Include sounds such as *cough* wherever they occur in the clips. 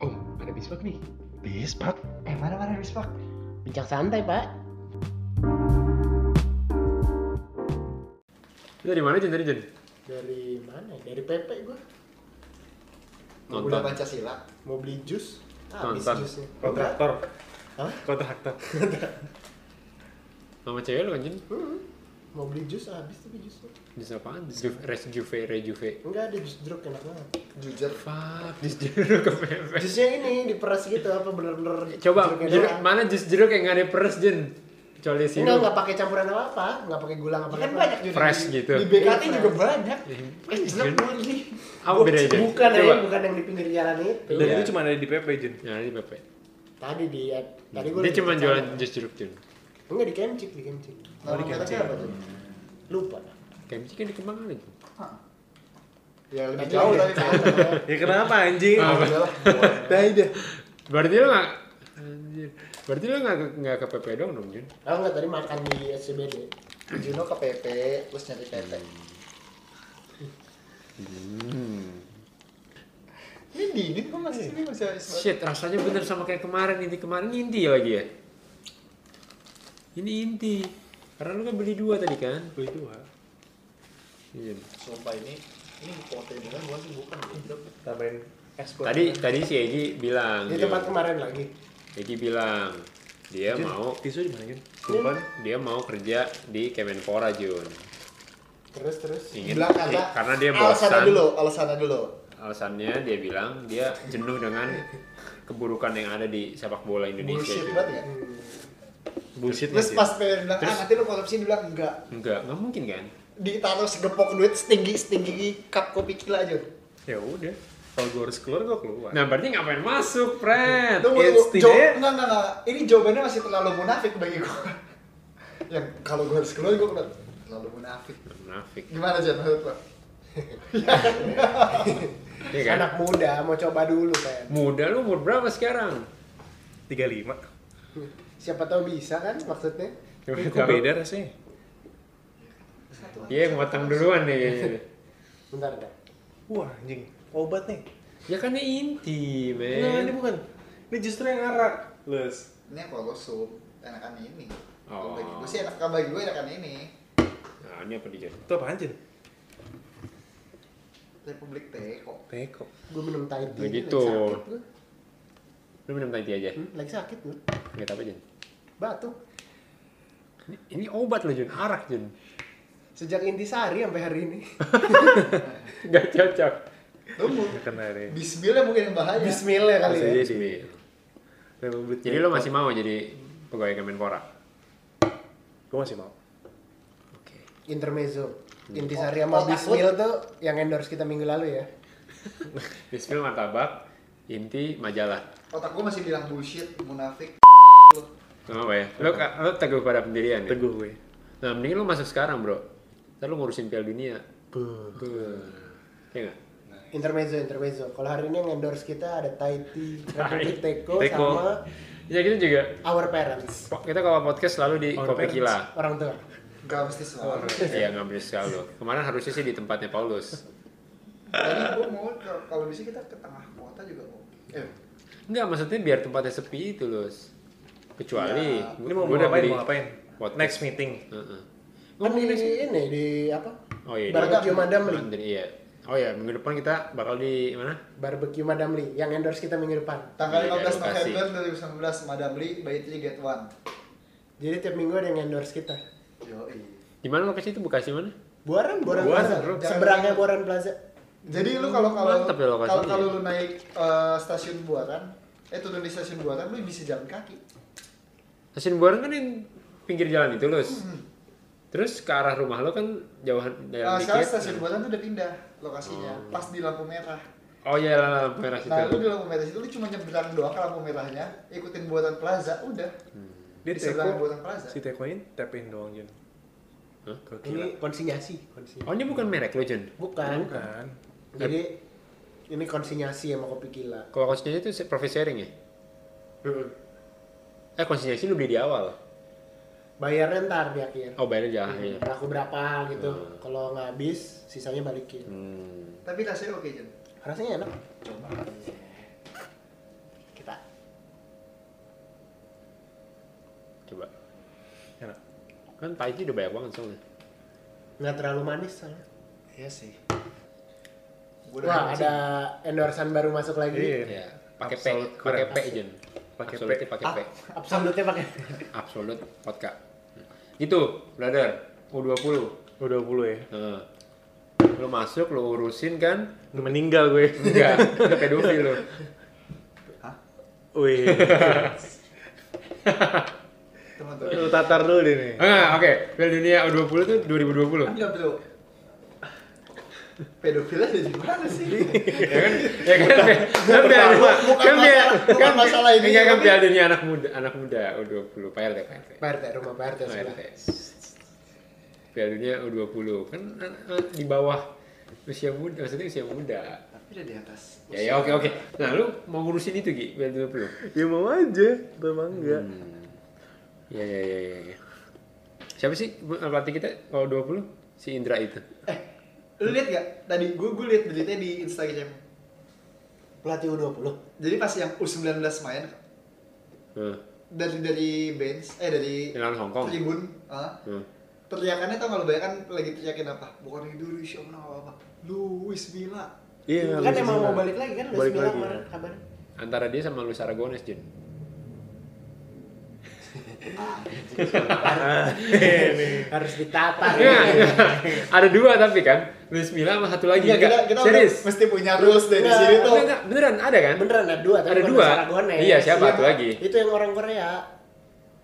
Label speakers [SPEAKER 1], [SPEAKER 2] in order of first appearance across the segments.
[SPEAKER 1] Oh, nih
[SPEAKER 2] Bis, Pak.
[SPEAKER 1] eh mana mana bispak
[SPEAKER 3] Bincang santai, Pak.
[SPEAKER 4] Itu dari mana Jen tadi Jen?
[SPEAKER 3] Dari mana? Dari PP gua.
[SPEAKER 1] udah
[SPEAKER 4] Nonton.
[SPEAKER 1] Pancasila
[SPEAKER 3] Mau beli jus? ya. Habis
[SPEAKER 4] Nonton.
[SPEAKER 3] jusnya.
[SPEAKER 2] Kontraktor.
[SPEAKER 3] Hah?
[SPEAKER 2] Kontraktor.
[SPEAKER 4] Nama cewek lu kan Jen?
[SPEAKER 3] Hmm. Mau beli jus habis tapi jusnya.
[SPEAKER 4] Jus apaan? Jus Rejuve, Rejuve.
[SPEAKER 3] Enggak ada jus jeruk enak banget.
[SPEAKER 1] jujur
[SPEAKER 4] Fuck, jus jeruk ke pepe.
[SPEAKER 3] Jusnya ini diperas gitu apa bener-bener
[SPEAKER 4] Eh. Coba,
[SPEAKER 3] jeruknya
[SPEAKER 4] jeruk,
[SPEAKER 3] doang.
[SPEAKER 4] mana jus jeruk yang gak ada peres Jen? Kecuali
[SPEAKER 3] Enggak,
[SPEAKER 4] sirup.
[SPEAKER 3] enggak pakai campuran apa-apa, enggak pakai gula, enggak pakai
[SPEAKER 1] kan
[SPEAKER 3] apa.
[SPEAKER 1] banyak juga
[SPEAKER 4] Fresh
[SPEAKER 1] di,
[SPEAKER 4] gitu.
[SPEAKER 1] di BKT juga
[SPEAKER 3] Fresh.
[SPEAKER 1] banyak
[SPEAKER 4] Eh,
[SPEAKER 3] Eh, jeruk
[SPEAKER 4] Jen.
[SPEAKER 3] doang ini.
[SPEAKER 4] Apa bedanya, Jen?
[SPEAKER 3] Bukan,
[SPEAKER 4] Coba.
[SPEAKER 3] eh, bukan yang di pinggir jalan itu.
[SPEAKER 2] Dan itu cuma ada di PP, Jun.
[SPEAKER 4] Nah, ini pepe.
[SPEAKER 3] Tadi di tadi gua
[SPEAKER 4] Dia
[SPEAKER 3] lagi
[SPEAKER 4] cuma
[SPEAKER 3] bercanda.
[SPEAKER 4] jualan jus jeruk Jen.
[SPEAKER 3] Enggak di Kemcik, di Kemcik.
[SPEAKER 1] Nama mereknya apa tuh?
[SPEAKER 3] Lupa.
[SPEAKER 4] Kayak mesti kan dikembangkan itu.
[SPEAKER 1] ya lebih
[SPEAKER 3] Tadi
[SPEAKER 1] jauh
[SPEAKER 3] ada-
[SPEAKER 1] tapi kalau *laughs*
[SPEAKER 2] Ya kenapa anjing?
[SPEAKER 1] udah lah boleh.
[SPEAKER 3] Nah,
[SPEAKER 2] Dah
[SPEAKER 3] iya.
[SPEAKER 2] dah.
[SPEAKER 4] Berarti lu gak... Anjir. Berarti lu gak, gak ke pepe dong dong Jen?
[SPEAKER 3] Aku enggak tadi makan di SCBD.
[SPEAKER 1] Juno ke PP terus nyari PP Hmm. ini dingin kok masih sini masih masih-
[SPEAKER 4] Shit, rasanya bener sama kayak kemarin inti kemarin Ini inti lagi ya. Ini inti. Karena lu kan beli dua tadi kan?
[SPEAKER 2] Gue itu ah.
[SPEAKER 4] Iya.
[SPEAKER 1] sumpah ini ini pote beneran bukan sih bukan goblok.
[SPEAKER 2] Tambahin es kue.
[SPEAKER 4] Tadi tadi si Egi bilang.
[SPEAKER 3] Di
[SPEAKER 4] dia-
[SPEAKER 3] tempat kemarin lagi.
[SPEAKER 4] Egi bilang dia
[SPEAKER 2] Jun,
[SPEAKER 4] mau
[SPEAKER 2] tisu di mana, Jun? Kumpan.
[SPEAKER 4] dia mau kerja di Kemenpora Jun.
[SPEAKER 3] Terus terus.
[SPEAKER 4] Ingin-
[SPEAKER 1] bilang kata
[SPEAKER 4] eh, karena dia
[SPEAKER 1] alasannya
[SPEAKER 4] bosan.
[SPEAKER 1] dulu alasannya dulu
[SPEAKER 4] Alasannya dia bilang dia jenuh dengan keburukan yang ada di sepak bola Indonesia.
[SPEAKER 1] bullshit
[SPEAKER 4] Jun.
[SPEAKER 1] banget ya
[SPEAKER 2] Bullshit
[SPEAKER 1] terus
[SPEAKER 2] banget,
[SPEAKER 1] pas pengen bilang ah
[SPEAKER 4] Terus-
[SPEAKER 1] nanti lu konsumsi dia bilang enggak
[SPEAKER 4] Enggak, nggak mungkin kan?
[SPEAKER 1] ditaruh segepok duit setinggi setinggi cup kopi gila aja
[SPEAKER 2] Jun. Ya udah. Kalau gue harus keluar, gue keluar.
[SPEAKER 4] Nah, berarti ngapain masuk, Fred?
[SPEAKER 1] Tunggu,
[SPEAKER 2] It's
[SPEAKER 1] tunggu. Jawab,
[SPEAKER 2] tidak-
[SPEAKER 1] enggak, enggak, enggak. Ini jawabannya masih terlalu munafik bagi *laughs* gue. Yang kalau gue harus keluar, gue keluar. Terlalu munafik.
[SPEAKER 4] Munafik.
[SPEAKER 1] Gimana, Jan, menurut lo?
[SPEAKER 4] Iya kan?
[SPEAKER 3] Anak muda mau coba dulu kan.
[SPEAKER 4] Muda lu umur berapa sekarang?
[SPEAKER 2] 35.
[SPEAKER 3] Siapa tahu bisa kan maksudnya.
[SPEAKER 2] Ini
[SPEAKER 4] Coba
[SPEAKER 2] kok
[SPEAKER 4] tahu.
[SPEAKER 2] beda rasanya?
[SPEAKER 4] Dia Iya, yang matang duluan nih kayaknya.
[SPEAKER 3] Bentar dah.
[SPEAKER 2] Wah, anjing. Obat nih.
[SPEAKER 4] Ya kan ini inti,
[SPEAKER 2] Nah, ini
[SPEAKER 4] men.
[SPEAKER 2] bukan. Ini justru yang arak. Les.
[SPEAKER 1] Ini yang kalau sup, enakan ini.
[SPEAKER 4] Oh.
[SPEAKER 1] Kalau Bagi gue sih, enakan bagi gue enakan ini.
[SPEAKER 4] Nah, ini apa nih, Jon?
[SPEAKER 2] Itu apaan, Jun?
[SPEAKER 1] Republik Teko.
[SPEAKER 2] Teko.
[SPEAKER 3] Gue minum Thai tea.
[SPEAKER 4] Begitu.
[SPEAKER 3] lagi sakit gua.
[SPEAKER 4] Lu minum Thai tea aja.
[SPEAKER 3] Hmm, lagi sakit gue.
[SPEAKER 4] Enggak apa, Jon.
[SPEAKER 3] Batuk.
[SPEAKER 4] Ini, ini obat lo, Jon. Arak, *laughs* Jon.
[SPEAKER 3] Sejak intisari sampai hari ini.
[SPEAKER 4] Enggak cocok.
[SPEAKER 1] Tunggu.
[SPEAKER 2] Gak kena deh.
[SPEAKER 1] Bismillah mungkin yang bahaya.
[SPEAKER 3] Bismillah kali ya.
[SPEAKER 2] Jadi.
[SPEAKER 4] Bismillah.
[SPEAKER 2] Republik
[SPEAKER 4] Jadi lo masih mau jadi pegawai Kemenpora?
[SPEAKER 2] Gue masih mau.
[SPEAKER 4] Oke. Hmm.
[SPEAKER 3] Intermezzo. Intisari sama
[SPEAKER 1] Oh, takut.
[SPEAKER 3] Bismil tuh yang endorse kita minggu lalu ya.
[SPEAKER 4] Bismillah martabak, inti majalah.
[SPEAKER 1] Otak gue masih bilang bullshit, munafik.
[SPEAKER 4] Gak apa ya? Lo, ka- lo teguh pada pendirian ya?
[SPEAKER 2] Teguh gue.
[SPEAKER 4] Nah, mending lo masuk sekarang, bro. Ntar lo ngurusin Piala Dunia. Beuh. Iya nggak?
[SPEAKER 3] Intermezzo, intermezzo. Kalau hari ini yang endorse kita ada Thai tea, Republik Teko,
[SPEAKER 2] Teko.
[SPEAKER 3] sama
[SPEAKER 4] Ya, kita juga.
[SPEAKER 3] Our Parents.
[SPEAKER 4] po- Kita kalau podcast selalu di
[SPEAKER 2] Our
[SPEAKER 4] Kopi
[SPEAKER 2] parents.
[SPEAKER 4] Kila.
[SPEAKER 3] Orang tua.
[SPEAKER 1] Gak mesti semua.
[SPEAKER 2] *laughs*
[SPEAKER 4] Iya, nggak bener sekali lo. Kemarin harusnya sih di tempatnya Paulus.
[SPEAKER 1] Tadi gue mau, ke- kalau bisa kita ke tengah kota juga mau. Eh,
[SPEAKER 4] Enggak, maksudnya biar tempatnya sepi itu, Lus. Kecuali...
[SPEAKER 1] Ya.
[SPEAKER 4] gua-
[SPEAKER 2] Iya. Ini mau
[SPEAKER 4] gua udah
[SPEAKER 2] ngapain?
[SPEAKER 4] beli-
[SPEAKER 2] Mau ngapain?
[SPEAKER 4] Podcast.
[SPEAKER 2] Next meeting.
[SPEAKER 4] Heeh.
[SPEAKER 3] Kan di
[SPEAKER 4] Ngomongin sih.
[SPEAKER 3] ini, di apa?
[SPEAKER 4] Oh iya. di-
[SPEAKER 3] Barbecue Madam Lee.
[SPEAKER 4] Mandiri, iya. Oh iya, minggu depan kita bakal di mana?
[SPEAKER 3] Barbecue Madam Lee yang endorse kita minggu depan.
[SPEAKER 1] tanggal
[SPEAKER 4] Iya,
[SPEAKER 1] 15
[SPEAKER 4] lokasi.
[SPEAKER 1] November 2019, Madam Lee, by 3 get 1.
[SPEAKER 3] Jadi tiap minggu ada yang endorse kita.
[SPEAKER 1] Yoi.
[SPEAKER 4] Di mana lokasi itu Bekasi mana?
[SPEAKER 3] Buaran, Buaran,
[SPEAKER 2] Buaran,
[SPEAKER 3] Plaza.
[SPEAKER 2] bro.
[SPEAKER 3] Seberangnya Buaran Plaza.
[SPEAKER 1] Jadi lu kalau kalau
[SPEAKER 4] Mantap ya lokasinya.
[SPEAKER 1] kalau kalau lu naik eh, stasiun Buaran, eh turun di stasiun Buaran lu bisa jalan kaki.
[SPEAKER 4] Stasiun Buaran kan yang pinggir jalan itu, Lus.
[SPEAKER 1] Mm-hmm.
[SPEAKER 4] Terus ke arah rumah lo kan jauhan
[SPEAKER 1] Eh,
[SPEAKER 4] jalan
[SPEAKER 1] sekarang
[SPEAKER 4] dikit.
[SPEAKER 1] stasiun Buaran tuh udah pindah lokasinya, pas di lampu merah.
[SPEAKER 4] Oh iya, lah, lampu merah situ.
[SPEAKER 1] Nah, lu di lampu merah situ lu cuma nyebrang doang ke lampu merahnya, ikutin Buaran Plaza, udah. Di
[SPEAKER 2] Dia Teko.
[SPEAKER 1] seberang Buaran Plaza.
[SPEAKER 2] Si Tekoin tap in doang, Jun.
[SPEAKER 4] Hah?
[SPEAKER 2] Ke Kila.
[SPEAKER 3] Ini konsinyasi. konsinyasi.
[SPEAKER 4] Oh ini bukan merek lo, Jun?
[SPEAKER 3] Bukan.
[SPEAKER 2] Bukan.
[SPEAKER 3] Jadi ini konsinyasi sama kopi gila.
[SPEAKER 4] Kalau konsinyasi itu se- profit sharing ya? Eh, konsinyasi lu beli di awal.
[SPEAKER 3] Bayarnya ntar di akhir.
[SPEAKER 4] Oh, bayarnya jalan. Iya. Nah.
[SPEAKER 3] Berlaku berapa gitu. Kalau nggak habis, sisanya balikin.
[SPEAKER 4] Hmm.
[SPEAKER 1] Tapi rasanya oke, Jen.
[SPEAKER 3] Rasanya enak.
[SPEAKER 1] Coba.
[SPEAKER 3] Kita
[SPEAKER 2] Enak.
[SPEAKER 4] Kan Thai tea udah banyak banget soalnya.
[SPEAKER 3] nggak terlalu manis soalnya.
[SPEAKER 2] Iya sih.
[SPEAKER 1] Gua udah
[SPEAKER 3] Wah,
[SPEAKER 1] happy.
[SPEAKER 3] ada endorsan baru masuk lagi.
[SPEAKER 2] Iya.
[SPEAKER 4] Pakai P,
[SPEAKER 2] Absolut
[SPEAKER 4] pakai
[SPEAKER 2] keren.
[SPEAKER 4] P Jen.
[SPEAKER 2] Pakai P.
[SPEAKER 4] Absolutnya pakai P.
[SPEAKER 3] Absolutnya Ah, pakai.
[SPEAKER 4] Absolut vodka. Gitu, brother. U20.
[SPEAKER 2] Udah 20 ya.
[SPEAKER 4] Heeh. Lu masuk, lu urusin kan?
[SPEAKER 2] Udah meninggal gue.
[SPEAKER 4] Enggak, udah pedofil lu.
[SPEAKER 2] Wih.
[SPEAKER 1] Teman-teman.
[SPEAKER 2] Lu tatar dulu deh nih.
[SPEAKER 4] Enggak, Ah, oke. Piala Dunia U20 tuh 2020.
[SPEAKER 1] Enggak betul. Pedofilnya dari mana sih?
[SPEAKER 2] Iya.
[SPEAKER 4] ya kan? Ya kan? Kan Piala Dunia. Kan Piala
[SPEAKER 1] Bukan masalah ini.
[SPEAKER 4] Enggak kan
[SPEAKER 1] Iya, tapi-
[SPEAKER 4] Piala Dunia anak muda, anak muda oh, U20 PRT PRT.
[SPEAKER 3] PRT, rumah PRT sebelah.
[SPEAKER 4] PRT. Piala Dunia U20 kan eh, eh, di bawah usia muda, maksudnya usia muda.
[SPEAKER 1] Tapi udah di atas.
[SPEAKER 4] Ya ya oke oke. Nah, lu mau ngurusin itu Gi, Piala 20.
[SPEAKER 2] Ya mau aja. Memang enggak.
[SPEAKER 1] Hmm.
[SPEAKER 4] Ya ya ya ya. ya. Siapa sih pelatih kita kalau 20? Si Indra itu.
[SPEAKER 1] Eh, lu lihat gak? Tadi gue gue lihat beritanya di Instagram.
[SPEAKER 3] Pelatih U20.
[SPEAKER 1] Jadi pas yang U19 main
[SPEAKER 4] Heeh.
[SPEAKER 1] dari dari bench eh dari
[SPEAKER 4] Lawan Hong Kong.
[SPEAKER 1] tribun ah,
[SPEAKER 4] Heeh.
[SPEAKER 1] teriakannya tau gak lu bayangkan lagi teriakin apa bukan Indonesia menang apa apa Luis Milla
[SPEAKER 2] Iya,
[SPEAKER 3] kan emang mau balik lagi kan?
[SPEAKER 2] Balik lagi.
[SPEAKER 3] kemarin kabarnya.
[SPEAKER 4] Antara dia sama Luis Aragones, Jun. Iya,
[SPEAKER 3] Harus ditata.
[SPEAKER 4] Nah, ada dua tapi kan. Luis Milla sama satu lagi.
[SPEAKER 1] Iya, kita
[SPEAKER 4] Enggak,
[SPEAKER 1] kita
[SPEAKER 4] serius.
[SPEAKER 1] udah mesti punya rules deh di sini tuh
[SPEAKER 4] Enggak, enggak, beneran ada kan?
[SPEAKER 3] Beneran ada dua, tapi
[SPEAKER 4] Ada
[SPEAKER 3] bukan
[SPEAKER 4] dua.
[SPEAKER 3] Sarah Gomez.
[SPEAKER 4] Iya, siapa
[SPEAKER 1] Siapa?
[SPEAKER 4] satu lagi?
[SPEAKER 3] Itu yang orang Korea.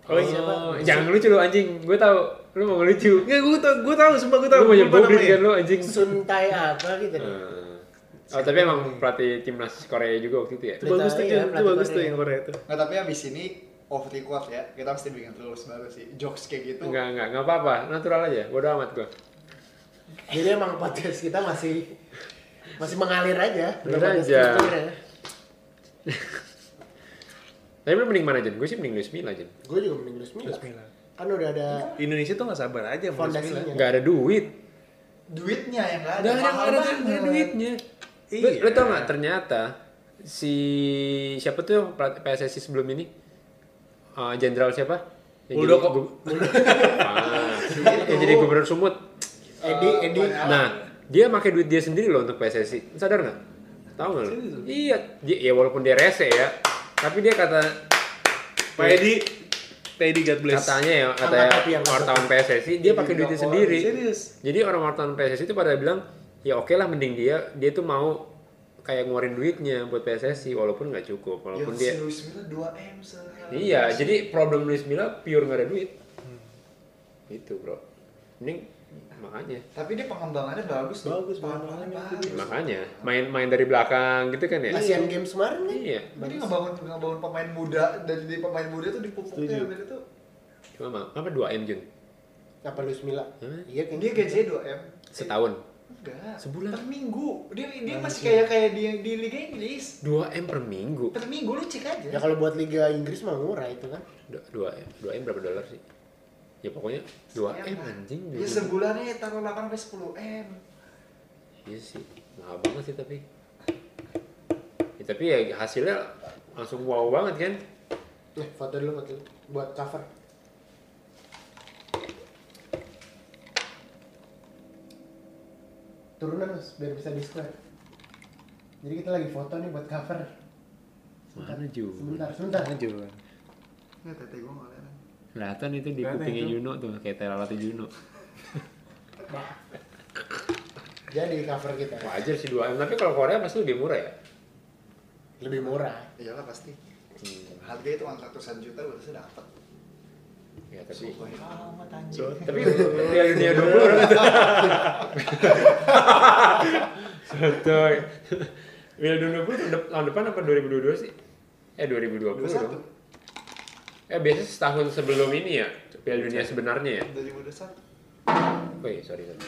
[SPEAKER 4] Oh,
[SPEAKER 3] siapa?
[SPEAKER 4] jangan lucu lu anjing. Gue tahu lu mau lucu.
[SPEAKER 2] Enggak, gue tau, gue tau, sumpah gue tau.
[SPEAKER 4] Lu mau
[SPEAKER 2] Lupa
[SPEAKER 4] nyebobin
[SPEAKER 2] namanya.
[SPEAKER 4] kan lu anjing.
[SPEAKER 3] Suntai apa gitu. deh.
[SPEAKER 4] Eh, Oh, tapi emang pelatih timnas Korea juga waktu itu ya.
[SPEAKER 2] Itu bagus tuh,
[SPEAKER 3] Iya,
[SPEAKER 2] Jun. itu
[SPEAKER 3] pelatih
[SPEAKER 2] bagus tuh
[SPEAKER 3] Korea.
[SPEAKER 2] yang Korea itu.
[SPEAKER 1] nggak tapi abis ini off record ya kita mesti bikin rules baru sih jokes kayak gitu
[SPEAKER 4] Enggak, enggak, enggak apa-apa. Natural aja. Bodo amat gue.
[SPEAKER 3] Jadi emang podcast kita masih masih mengalir aja. Belum
[SPEAKER 4] Mengalir
[SPEAKER 3] ada
[SPEAKER 4] aja.
[SPEAKER 3] strukturnya.
[SPEAKER 4] Tapi lu mending mana, Jun? Gue sih mending Luis Milla, Jun.
[SPEAKER 3] Gue juga mending Luis Milla. Kan udah ada
[SPEAKER 2] Indonesia tuh gak sabar aja mau
[SPEAKER 3] Fondasinya.
[SPEAKER 2] Bismillah.
[SPEAKER 4] Enggak ada duit.
[SPEAKER 1] duitnya yang nggak ada
[SPEAKER 4] Gak ada,
[SPEAKER 1] mahal
[SPEAKER 4] gak ada,
[SPEAKER 1] banget.
[SPEAKER 4] gak ada duitnya. Lu,
[SPEAKER 2] Iya.
[SPEAKER 4] lu tau gak ternyata si siapa tuh yang pelat- PSSI sebelum ini? Eh, Jenderal siapa? Yang
[SPEAKER 2] Muldoko.
[SPEAKER 4] jadi gu- Ah, yang jadi gubernur Sumut.
[SPEAKER 3] Edi
[SPEAKER 1] Eh,
[SPEAKER 3] Edi
[SPEAKER 1] banyak.
[SPEAKER 4] Nah, dia pakai duit dia sendiri loh untuk PSSI. Lu Sadar nggak? Tahu nggak lu? Iya, dia- ya walaupun dia rese ya. Tapi dia kata
[SPEAKER 2] Pak Edi, Pak Edi God bless.
[SPEAKER 4] katanya ya,
[SPEAKER 3] tapi
[SPEAKER 4] katanya
[SPEAKER 3] yang
[SPEAKER 4] wartawan PSSI dia pakai duitnya
[SPEAKER 1] orang
[SPEAKER 4] sendiri.
[SPEAKER 2] serius.
[SPEAKER 4] Jadi orang wartawan PSSI itu pada bilang ya oke lah mending dia dia tuh mau kayak ngeluarin duitnya buat PSSI walaupun nggak cukup walaupun
[SPEAKER 1] yang
[SPEAKER 4] dia
[SPEAKER 1] si Luis Milla 2 m sehari
[SPEAKER 4] iya jadi problem Luis Milla pure nggak ada duit itu bro mending makanya
[SPEAKER 1] tapi dia pengembangannya bagus tuh.
[SPEAKER 2] Bagus,
[SPEAKER 1] pengembangannya
[SPEAKER 2] pengembangannya
[SPEAKER 1] bagus
[SPEAKER 4] Ya, makanya main main dari belakang gitu kan ya
[SPEAKER 3] Asian Games kemarin kan.
[SPEAKER 4] iya
[SPEAKER 1] Jadi ngebangun ngebangun pemain muda dari dari pemain muda tuh dipupuknya dari itu.
[SPEAKER 4] cuma ma- apa dua m Jun
[SPEAKER 3] Apa Luis Milla?
[SPEAKER 4] Hmm?
[SPEAKER 3] Iya kan.
[SPEAKER 1] Dia gajinya 2 m.
[SPEAKER 4] setahun
[SPEAKER 1] Enggak.
[SPEAKER 4] Sebulan. Nah,
[SPEAKER 1] Per minggu. Dia dia masih kayak kayak di di Liga Inggris.
[SPEAKER 4] 2 m per minggu
[SPEAKER 1] Per minggu lu cek aja.
[SPEAKER 3] Ya kalau buat Liga Inggris mah murah itu kan.
[SPEAKER 4] dua dua m dua m berapa dolar sih ya pokoknya dua
[SPEAKER 1] Ya,
[SPEAKER 2] Iya,
[SPEAKER 4] m
[SPEAKER 1] Pak.
[SPEAKER 4] anjing
[SPEAKER 1] Ya
[SPEAKER 4] dua-
[SPEAKER 1] sebulannya taruh 8 sampai 10 M.
[SPEAKER 4] Iya sih, mahal banget sih tapi. Ya, tapi ya hasilnya langsung wow banget kan.
[SPEAKER 3] Nih, foto dulu foto dulu. buat cover. Turunan Mas, biar bisa di square. Jadi kita lagi foto nih buat cover.
[SPEAKER 4] Mana Jun?
[SPEAKER 3] Sebentar, sebentar.
[SPEAKER 1] Ini tete gue ngeliatin.
[SPEAKER 4] Kelihatan itu di
[SPEAKER 2] Kelihatan
[SPEAKER 4] kupingnya
[SPEAKER 2] itu.
[SPEAKER 4] Juno tuh kayak telalati Juno.
[SPEAKER 3] Jadi cover kita
[SPEAKER 4] Wajar sih 2 M, tapi kalau Korea pasti lebih murah ya.
[SPEAKER 3] lebih murah.
[SPEAKER 1] Iyalah Iya pasti. Harganya itu ratusan juta udah sudah dapat.
[SPEAKER 4] Ya tapi
[SPEAKER 1] Wah, iya. amat anjing.
[SPEAKER 2] So,
[SPEAKER 4] tapi Piala Dunia 20 orang itu. Sotoy. Piala Dunia 20 tahun dep- tahun depan apa 2022 sih? Eh 2020 dong.
[SPEAKER 1] 21.
[SPEAKER 4] Eh biasanya setahun sebelum ini ya Piala Dunia sebenarnya ya.
[SPEAKER 1] 2021.
[SPEAKER 4] Oh iya, sorry sorry.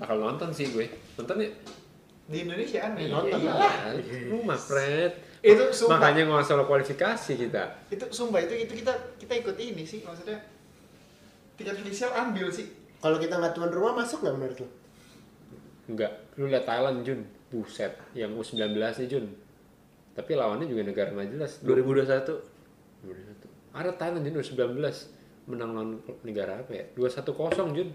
[SPEAKER 4] Bakal nonton sih gue. Nonton ya?
[SPEAKER 1] Di Indonesia aneh.
[SPEAKER 3] Nonton
[SPEAKER 1] Iya.
[SPEAKER 3] lah.
[SPEAKER 4] Rumah Fred.
[SPEAKER 1] Itu sumpah.
[SPEAKER 4] Makanya nggak usah lo kualifikasi kita.
[SPEAKER 1] Itu sumpah itu itu kita kita ikut ini sih maksudnya. Tiket official ambil sih.
[SPEAKER 3] Kalau kita nggak tuan rumah masuk nggak menurut lu?
[SPEAKER 4] Enggak. Lu lihat Thailand Jun. Buset. Yang U19 nih Jun. Tapi lawannya juga negara nggak jelas.
[SPEAKER 2] 2021.
[SPEAKER 4] 2021. Ada Thailand Jun 2019 menang lawan negara apa ya? 2-1-0 Jun.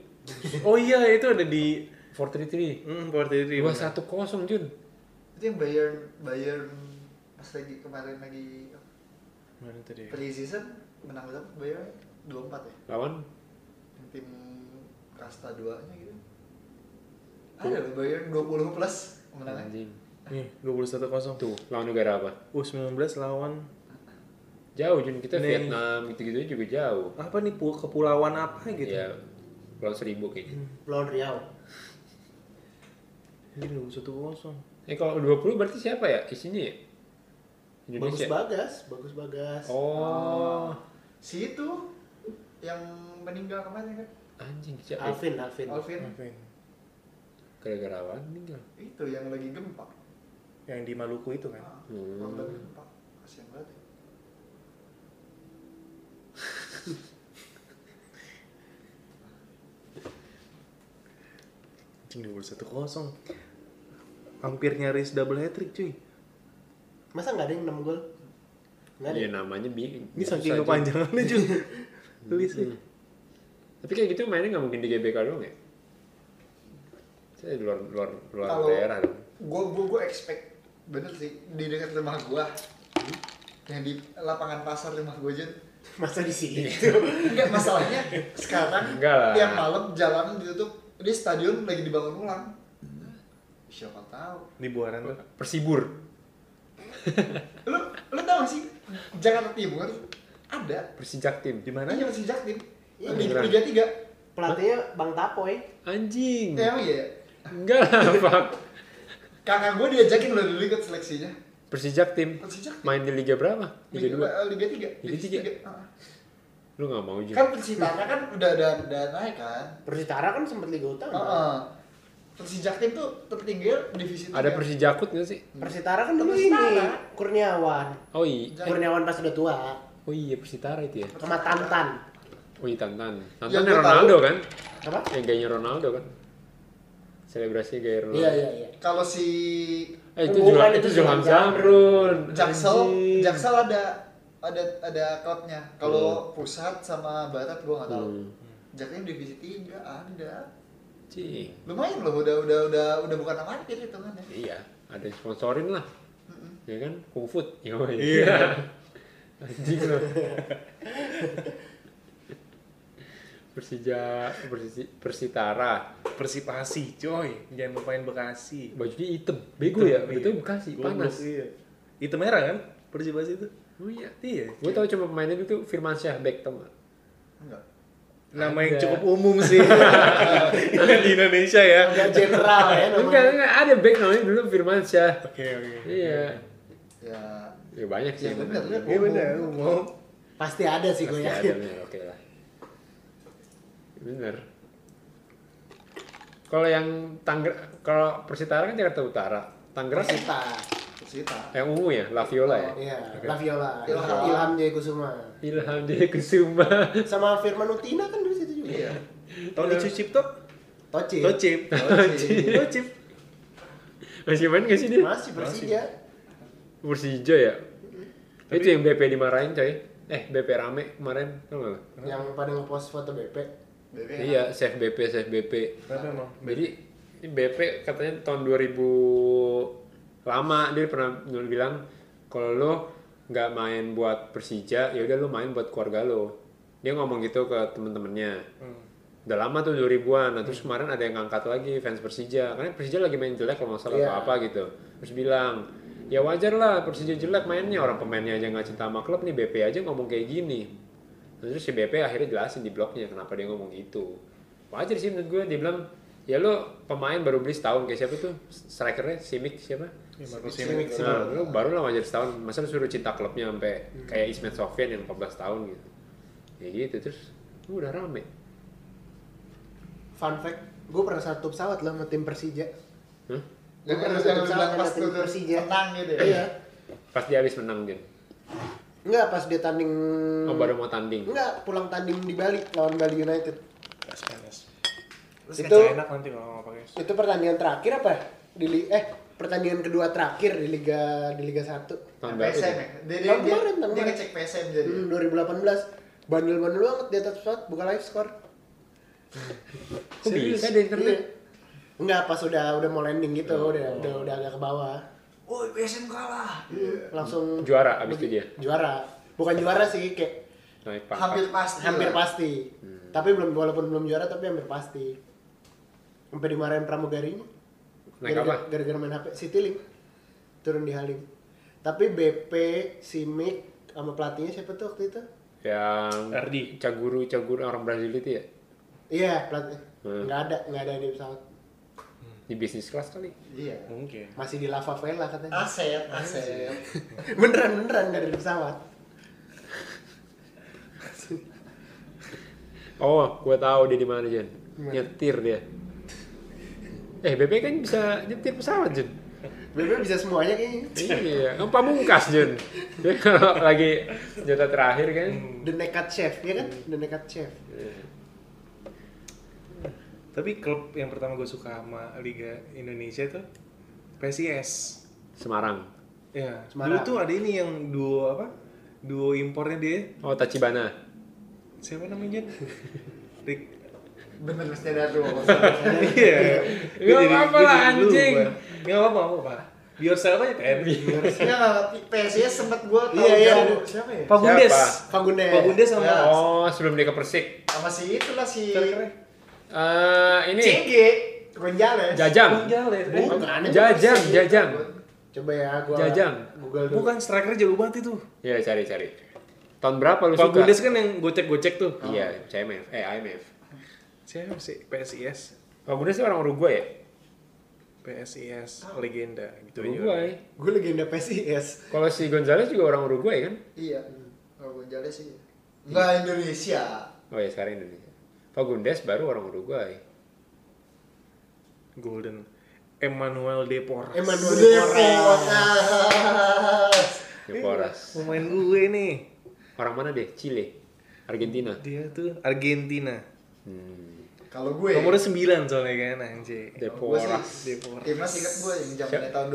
[SPEAKER 2] Oh iya itu ada di
[SPEAKER 4] 4-3-3.
[SPEAKER 2] hmm, Porter
[SPEAKER 4] 2-1-0 Jun.
[SPEAKER 1] Itu yang Bayern Bayern pas lagi kemarin lagi
[SPEAKER 2] Mana tadi?
[SPEAKER 1] pre-season menang berapa Bayern 24 ya.
[SPEAKER 4] Lawan
[SPEAKER 1] Yang tim kasta 2-nya gitu. Ada loh Bayern 20 plus menangnya.
[SPEAKER 4] anjing.
[SPEAKER 2] Nih, 21-0.
[SPEAKER 4] Tuh, lawan negara apa?
[SPEAKER 2] U19 lawan
[SPEAKER 4] Jauh Jun, kita
[SPEAKER 2] Nih.
[SPEAKER 4] Vietnam gitu-gitu juga jauh.
[SPEAKER 2] apa nih pu- kepulauan apa gitu.
[SPEAKER 4] Ya, lawan seribu kayaknya.
[SPEAKER 3] Lawan Riau.
[SPEAKER 2] Ini 21-0.
[SPEAKER 4] Eh kalau 20 berarti siapa ya isinya ya?
[SPEAKER 3] Bagus
[SPEAKER 4] Indonesia.
[SPEAKER 3] bagas, bagus bagas.
[SPEAKER 4] Oh,
[SPEAKER 1] Si itu yang meninggal kemarin kan.
[SPEAKER 4] anjing siapa? ya?
[SPEAKER 3] Alvin, Alvin.
[SPEAKER 1] Alvin.
[SPEAKER 4] Gara-gara apa? Meninggal.
[SPEAKER 1] Itu yang lagi gempa.
[SPEAKER 2] Yang di Maluku itu kan.
[SPEAKER 1] Ah,
[SPEAKER 4] Hmm.
[SPEAKER 1] Korban gempa. Kasihan banget. ya.
[SPEAKER 2] Anjing 21-0. Hampir nyaris double hat trick, cuy.
[SPEAKER 3] Masa nggak ada yang 6 gol? Nggak ada.
[SPEAKER 4] Iya namanya bi.
[SPEAKER 2] Ini
[SPEAKER 4] susah,
[SPEAKER 2] saking
[SPEAKER 4] Jun.
[SPEAKER 2] kepanjangannya, Ya, *laughs* cuy. Hmm. Tulis sih.
[SPEAKER 4] Tapi kayak gitu mainnya nggak mungkin di GBK doang ya? Saya di luar luar luar
[SPEAKER 1] Kalau-
[SPEAKER 4] daerah dong.
[SPEAKER 1] Gua gua gua expect bener sih di dekat rumah gua. Yang di lapangan pasar rumah gua Jun.
[SPEAKER 3] *laughs* Masa di sini?
[SPEAKER 4] Iya.
[SPEAKER 1] Enggak masalahnya sekarang
[SPEAKER 4] Enggak lah.
[SPEAKER 1] tiap malam jalan ditutup. Ini stadion lagi dibangun ulang. Siapa tahu.
[SPEAKER 2] Di Buaran tuh.
[SPEAKER 4] Persibur,
[SPEAKER 1] Lu lu tahu nggak sih Jakarta Timur ada.
[SPEAKER 4] Persijak tim.
[SPEAKER 2] Di mana?
[SPEAKER 1] Ini masih jaktim.
[SPEAKER 3] Iya,
[SPEAKER 1] Di
[SPEAKER 4] beneran.
[SPEAKER 1] tiga tiga.
[SPEAKER 3] Pelatihnya Bang eh. Tapoy.
[SPEAKER 4] Anjing.
[SPEAKER 1] Emang iya.
[SPEAKER 4] Enggak lah, *laughs* Pak.
[SPEAKER 1] Kakak gua diajakin loh dulu ikut seleksinya.
[SPEAKER 4] Persijak tim.
[SPEAKER 1] Persijak.
[SPEAKER 4] Main di Liga berapa? Liga
[SPEAKER 1] eh,
[SPEAKER 4] dua.
[SPEAKER 1] Liga tiga.
[SPEAKER 4] Liga tiga. Oh.
[SPEAKER 1] Ah.
[SPEAKER 4] Lu nggak mau juga.
[SPEAKER 1] Kan Persitara kan udah udah, udah naik kan.
[SPEAKER 3] Persitara kan sempat Liga
[SPEAKER 4] Oh, iya.
[SPEAKER 3] Utama.
[SPEAKER 1] Heeh. Persijak tim tuh tertinggi divisi tiga.
[SPEAKER 4] Ada Persijakut nggak sih?
[SPEAKER 3] Persitara kan dulu ini
[SPEAKER 1] Persitara.
[SPEAKER 3] Kurniawan.
[SPEAKER 4] Oh iya.
[SPEAKER 1] Jangan.
[SPEAKER 3] Kurniawan pas udah tua
[SPEAKER 4] Oh iya Persitara itu ya.
[SPEAKER 3] sama Tantan.
[SPEAKER 4] Oh iya Tantan.
[SPEAKER 1] Yang
[SPEAKER 4] Tantan
[SPEAKER 1] gua
[SPEAKER 4] Ronaldo kan?
[SPEAKER 3] Apa?
[SPEAKER 4] Yang gayanya Ronaldo kan? Selebrasinya gaya Ronaldo.
[SPEAKER 3] Iya iya iya.
[SPEAKER 1] Kalau si
[SPEAKER 4] Eh itu
[SPEAKER 3] Bukan,
[SPEAKER 4] Zulham,
[SPEAKER 3] itu
[SPEAKER 4] itu Zulham
[SPEAKER 3] Zulham
[SPEAKER 4] Zamrun.
[SPEAKER 1] Jaksel,
[SPEAKER 4] Anjing.
[SPEAKER 1] Jaksel ada ada ada klubnya. Kalau pusat sama barat gua nggak tahu.
[SPEAKER 4] Hmm.
[SPEAKER 1] Jaktim divisi tiga ada.
[SPEAKER 4] Cing.
[SPEAKER 1] Lumayan loh, udah udah udah udah bukan gitu amatir hitungannya.
[SPEAKER 4] Iya, ada yang sponsorin lah. Ya kan, Kung Food. *laughs* Iya.
[SPEAKER 2] Iya.
[SPEAKER 4] Anjing loh. Persija, Persi, Persitara.
[SPEAKER 2] Persipasi, coy. Jangan lupain Bekasi.
[SPEAKER 4] Bajunya hitam. Bego ya, itu Bekasi,
[SPEAKER 2] Goblok,
[SPEAKER 4] panas.
[SPEAKER 2] Iya. Itu merah kan? Persipasi itu.
[SPEAKER 4] Oh iya.
[SPEAKER 2] Iya.
[SPEAKER 4] Gue tau cuma pemainnya itu Firman Syah Beck tau gak?
[SPEAKER 1] Enggak.
[SPEAKER 2] Nama yang
[SPEAKER 4] Ada.
[SPEAKER 2] cukup umum *laughs* sih. *laughs* di Indonesia ya.
[SPEAKER 3] Agak general ya
[SPEAKER 4] Enggak,
[SPEAKER 3] namanya.
[SPEAKER 4] enggak, ada Beck namanya dulu Firman Syah
[SPEAKER 2] Oke, oke.
[SPEAKER 4] Iya
[SPEAKER 1] Ya
[SPEAKER 4] Ya banyak sih
[SPEAKER 1] Ya
[SPEAKER 4] yang
[SPEAKER 1] bener,
[SPEAKER 4] namanya.
[SPEAKER 1] bener.
[SPEAKER 2] Iya benar, umum.
[SPEAKER 3] Pasti ada sih
[SPEAKER 4] Pasti
[SPEAKER 3] gue
[SPEAKER 4] ada
[SPEAKER 3] Iya, yakin.
[SPEAKER 4] bener, oke lah Bener Kalau yang Tangger kalau Persitara kan Jakarta Utara Tangerang sih
[SPEAKER 3] Persita.
[SPEAKER 4] *laughs*
[SPEAKER 1] Persita.
[SPEAKER 4] yang ungu ya, Laviola ya
[SPEAKER 3] Iya, Laviola,
[SPEAKER 1] Ilham.
[SPEAKER 3] Ilham Jaya Kusuma.
[SPEAKER 4] Ilham Jaya Kusuma *laughs*
[SPEAKER 3] Sama Firman Utina kan dulu situ juga.
[SPEAKER 1] Iya.
[SPEAKER 2] Tony Cipto,
[SPEAKER 3] Toci.
[SPEAKER 2] Iya. Tocip,
[SPEAKER 1] Tocip.
[SPEAKER 2] *laughs* Tocip.
[SPEAKER 4] Masih main gak sih dia?
[SPEAKER 3] Masih Persija.
[SPEAKER 4] Persija ya? Itu yang BP dimarahin coy Eh, BP rame kemarin, tau gak?
[SPEAKER 3] Yang pada ngepost foto BP.
[SPEAKER 1] BB.
[SPEAKER 4] Iya, save BP, save BP
[SPEAKER 2] Kenapa emang?
[SPEAKER 4] Jadi ini BP katanya tahun 2000 lama dia pernah dulu bilang kalau lo nggak main buat Persija ya udah lo main buat keluarga lo. Dia ngomong gitu ke temen-temennya. Udah lama tuh 2000-an. Nah, terus kemarin ada yang ngangkat lagi fans Persija. Karena Persija lagi main jelek kalau nggak salah
[SPEAKER 3] Iya.
[SPEAKER 4] atau apa gitu. Terus bilang, ya wajar lah Persija jelek mainnya. Orang pemainnya aja nggak cinta sama klub nih. BP aja ngomong kayak gini. Nah, terus si BP akhirnya jelasin di blognya kenapa dia ngomong gitu. Wajar sih menurut gue. Dia bilang, ya lo pemain baru beli setahun kayak siapa tuh? Strikernya, Simic siapa?
[SPEAKER 2] Ya, Marco
[SPEAKER 1] Simic.
[SPEAKER 2] Simic.
[SPEAKER 4] Nah, lu baru lah wajar setahun, masa lu suruh cinta klubnya sampai kayak Ismet Sofyan yang 14 tahun gitu. Ya gitu, terus lu udah rame.
[SPEAKER 3] Fun fact, gue pernah satu pesawat lah sama tim Persija.
[SPEAKER 4] Hah?
[SPEAKER 1] Yang
[SPEAKER 3] Bukan
[SPEAKER 1] harus
[SPEAKER 3] ada
[SPEAKER 1] yang
[SPEAKER 3] tim
[SPEAKER 1] bilang
[SPEAKER 3] salah,
[SPEAKER 1] pas
[SPEAKER 3] ada tim
[SPEAKER 1] tuh
[SPEAKER 3] Persija.
[SPEAKER 1] menang gitu ya.
[SPEAKER 3] Iya.
[SPEAKER 4] Pas dia habis menang, Jun.
[SPEAKER 3] Enggak pas dia tanding. Hmm.
[SPEAKER 4] Oh, baru mau tanding.
[SPEAKER 3] Enggak pulang tanding di Bali lawan Bali United.
[SPEAKER 2] Panas, panas.
[SPEAKER 3] Itu-
[SPEAKER 2] enak nanti kalau nggak pakai.
[SPEAKER 3] Itu pertandingan terakhir apa? ya? Di li- eh pertandingan kedua terakhir di Liga di Liga 1.
[SPEAKER 4] Tahun baru
[SPEAKER 1] PSM
[SPEAKER 4] itu.
[SPEAKER 1] ya? Dia, dia,
[SPEAKER 3] Tahun
[SPEAKER 1] dia,
[SPEAKER 3] kemarin, tahun
[SPEAKER 1] dia
[SPEAKER 3] kemarin.
[SPEAKER 1] ngecek PSM jadi.
[SPEAKER 4] Iya.
[SPEAKER 3] Hmm, 2018 bandel-bandel banget di atas pesawat buka live score.
[SPEAKER 4] Kok bisa deh internet?
[SPEAKER 3] Iya. Enggak, pas udah udah mau landing gitu,
[SPEAKER 4] Oh.
[SPEAKER 3] udah, udah udah agak ke bawah.
[SPEAKER 1] Woi PSM kalah.
[SPEAKER 3] Langsung
[SPEAKER 4] Juara abis itu dia.
[SPEAKER 3] juara. Bukan juara sih, kayak
[SPEAKER 4] Naik
[SPEAKER 1] Hampir
[SPEAKER 4] pangkat.
[SPEAKER 1] pasti.
[SPEAKER 3] hampir
[SPEAKER 1] lah.
[SPEAKER 3] pasti.
[SPEAKER 4] Hmm.
[SPEAKER 3] Tapi belum walaupun belum juara tapi hampir pasti. Sampai dimarahin pramugarinya.
[SPEAKER 4] Naik
[SPEAKER 3] Gara-gara-
[SPEAKER 4] apa?
[SPEAKER 3] Gara-gara main HP Citylink. Turun di Halim. Tapi BP, Simic sama pelatihnya siapa tuh waktu itu?
[SPEAKER 4] Yang
[SPEAKER 2] Ardi.
[SPEAKER 4] Caguru, Caguru orang Brazil itu ya?
[SPEAKER 3] Iya, pelatih.
[SPEAKER 4] Hmm.
[SPEAKER 3] Nggak ada, nggak ada di pesawat.
[SPEAKER 4] Di bisnis kelas kali.
[SPEAKER 1] Iya.
[SPEAKER 2] Mungkin.
[SPEAKER 3] Masih di lava vela katanya.
[SPEAKER 1] Aset, aset.
[SPEAKER 3] *laughs* beneran beneran nggak ada di pesawat.
[SPEAKER 4] Oh, gue tahu dia di mana Jen. Nyetir dia. Eh, BP kan bisa nyetir pesawat Jen.
[SPEAKER 3] Bener bisa semuanya kayaknya.
[SPEAKER 4] iya, kan pamungkas Jen. Dia kalau lagi jatah terakhir kan.
[SPEAKER 3] The Naked Chef, ya kan?
[SPEAKER 4] Hmm.
[SPEAKER 3] The Naked
[SPEAKER 4] *laughs*
[SPEAKER 3] Chef.
[SPEAKER 2] Tapi klub yang pertama gue suka sama Liga Indonesia tuh PSIS.
[SPEAKER 4] Semarang.
[SPEAKER 2] Ya. Dulu
[SPEAKER 3] Semarang.
[SPEAKER 2] tuh ada ini yang duo apa? Duo impornya dia
[SPEAKER 4] Oh, Tachibana.
[SPEAKER 2] siapa namanya? Jen? Rick.
[SPEAKER 1] Bener mesti ada tuh.
[SPEAKER 2] *laughs* Iya.
[SPEAKER 4] Nggak
[SPEAKER 2] Gue jadi-
[SPEAKER 4] apa-apa lah,
[SPEAKER 2] gue jadi lupa.
[SPEAKER 4] anjing.
[SPEAKER 2] Nggak apa-apa, nggak apa-apa. Be yourself aja kan.
[SPEAKER 1] Harusnya PSIS sempet gue tahu
[SPEAKER 3] Iya, iya.
[SPEAKER 1] jago. siapa ya?
[SPEAKER 2] Pak Gundes.
[SPEAKER 4] Siapa?
[SPEAKER 3] Pak Gundes.
[SPEAKER 2] Pak Gundes sama
[SPEAKER 1] Ya.
[SPEAKER 4] Oh, sebelum dia ke Persik.
[SPEAKER 1] Sama si itulah si
[SPEAKER 2] Keren-keren.
[SPEAKER 4] Eh, ini
[SPEAKER 1] Cingge Gonjales.
[SPEAKER 2] Bang
[SPEAKER 4] Jajang.
[SPEAKER 2] Jales. Eh,
[SPEAKER 3] Bukan.
[SPEAKER 4] Jajang, Jajang.
[SPEAKER 3] Coba ya, gua
[SPEAKER 4] Jajang.
[SPEAKER 3] Google dulu.
[SPEAKER 2] Bukan strikernya jago banget itu.
[SPEAKER 4] Ya, cari-cari. Tahun berapa lu
[SPEAKER 2] Pak
[SPEAKER 4] suka?
[SPEAKER 2] Gundes kan yang gocek-gocek tuh.
[SPEAKER 4] Iya, CMF. Eh, IMF.
[SPEAKER 2] Siapa sih? PSIS.
[SPEAKER 4] Pak Gundes itu orang Uruguay ya?
[SPEAKER 2] PSIS legenda gitu aja.
[SPEAKER 4] Uruguay.
[SPEAKER 3] Gue legenda PSIS.
[SPEAKER 4] Kalau si Gonzales juga orang Uruguay kan?
[SPEAKER 1] Iya. Kalau Gonjales sih. Enggak Indonesia.
[SPEAKER 4] Oh ya sekarang Indonesia. Pak Gundes baru orang Uruguay.
[SPEAKER 2] Golden Emmanuel Depor.
[SPEAKER 3] Emmanuel
[SPEAKER 1] Depot.
[SPEAKER 3] Depora. Iya.
[SPEAKER 4] Yang Poras.
[SPEAKER 2] Pemain gue nih.
[SPEAKER 4] Ya, Orang mana deh? Chile. Argentina.
[SPEAKER 2] Dia tuh Argentina.
[SPEAKER 4] Hmm.
[SPEAKER 1] Kalau gue.
[SPEAKER 2] Nomornya 9 soalnya kan anjing.
[SPEAKER 4] De
[SPEAKER 1] kalau gue
[SPEAKER 4] Poras.
[SPEAKER 1] sih,
[SPEAKER 2] Deporas.
[SPEAKER 1] Timnas ingat gue yang zamannya tahun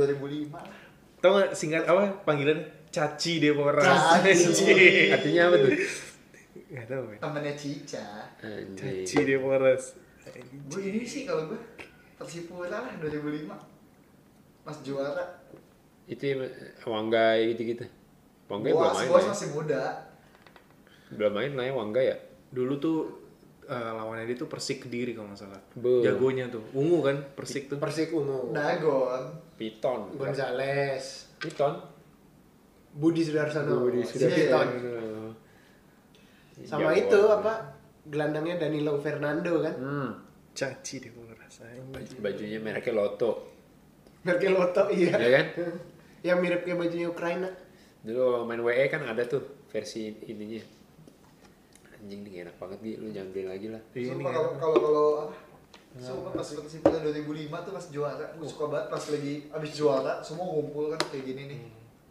[SPEAKER 1] 2005.
[SPEAKER 2] Tau gak singkat apa panggilan Caci Depora.
[SPEAKER 1] Caci.
[SPEAKER 2] Anjing.
[SPEAKER 4] Artinya apa tuh?
[SPEAKER 2] Gak tau men.
[SPEAKER 1] Temennya Cica.
[SPEAKER 2] Caci
[SPEAKER 4] Anjing.
[SPEAKER 2] Depora.
[SPEAKER 1] Gue ini sih kalau gue tersipu lah 2005. Mas juara.
[SPEAKER 4] Itu ya, Wanggai gitu-gitu. Wanggai belum
[SPEAKER 1] Boas,
[SPEAKER 4] main lah
[SPEAKER 1] Boas
[SPEAKER 4] ya.
[SPEAKER 1] masih muda.
[SPEAKER 4] Belum main lah ya Wanggai ya.
[SPEAKER 2] Dulu tuh eh, lawannya dia tuh Persik Kediri kalau nggak salah.
[SPEAKER 4] Be.
[SPEAKER 2] Jagonya tuh. Ungu kan Persik tuh.
[SPEAKER 3] Persik Ungu.
[SPEAKER 1] Dagon.
[SPEAKER 4] Piton.
[SPEAKER 3] Gonzales.
[SPEAKER 4] Piton.
[SPEAKER 3] Budi Sudarsono.
[SPEAKER 4] Budi Ya
[SPEAKER 3] Si
[SPEAKER 1] Sudarsono.
[SPEAKER 3] Piton.
[SPEAKER 4] Eh,
[SPEAKER 3] Sama
[SPEAKER 4] Jawa.
[SPEAKER 3] itu apa? Gelandangnya Danilo Fernando kan.
[SPEAKER 4] Hmm.
[SPEAKER 2] Caci Depora. sayang.
[SPEAKER 4] Baju- Bajunya mereknya Lotto.
[SPEAKER 3] Merkel Lotto iya.
[SPEAKER 4] Iya kan?
[SPEAKER 3] Yang mirip kayak bajunya Ukraina.
[SPEAKER 4] Dulu main WE kan ada tuh versi ininya. Anjing nih enak banget gitu, lu jangan beli lagi lah.
[SPEAKER 2] Iya nih.
[SPEAKER 1] Sumpah kalau kalau kalau apa? Sumpah pas kesimpulan 2005 tuh pas juara, gue suka banget pas lagi abis juara semua ngumpul kan kayak gini nih,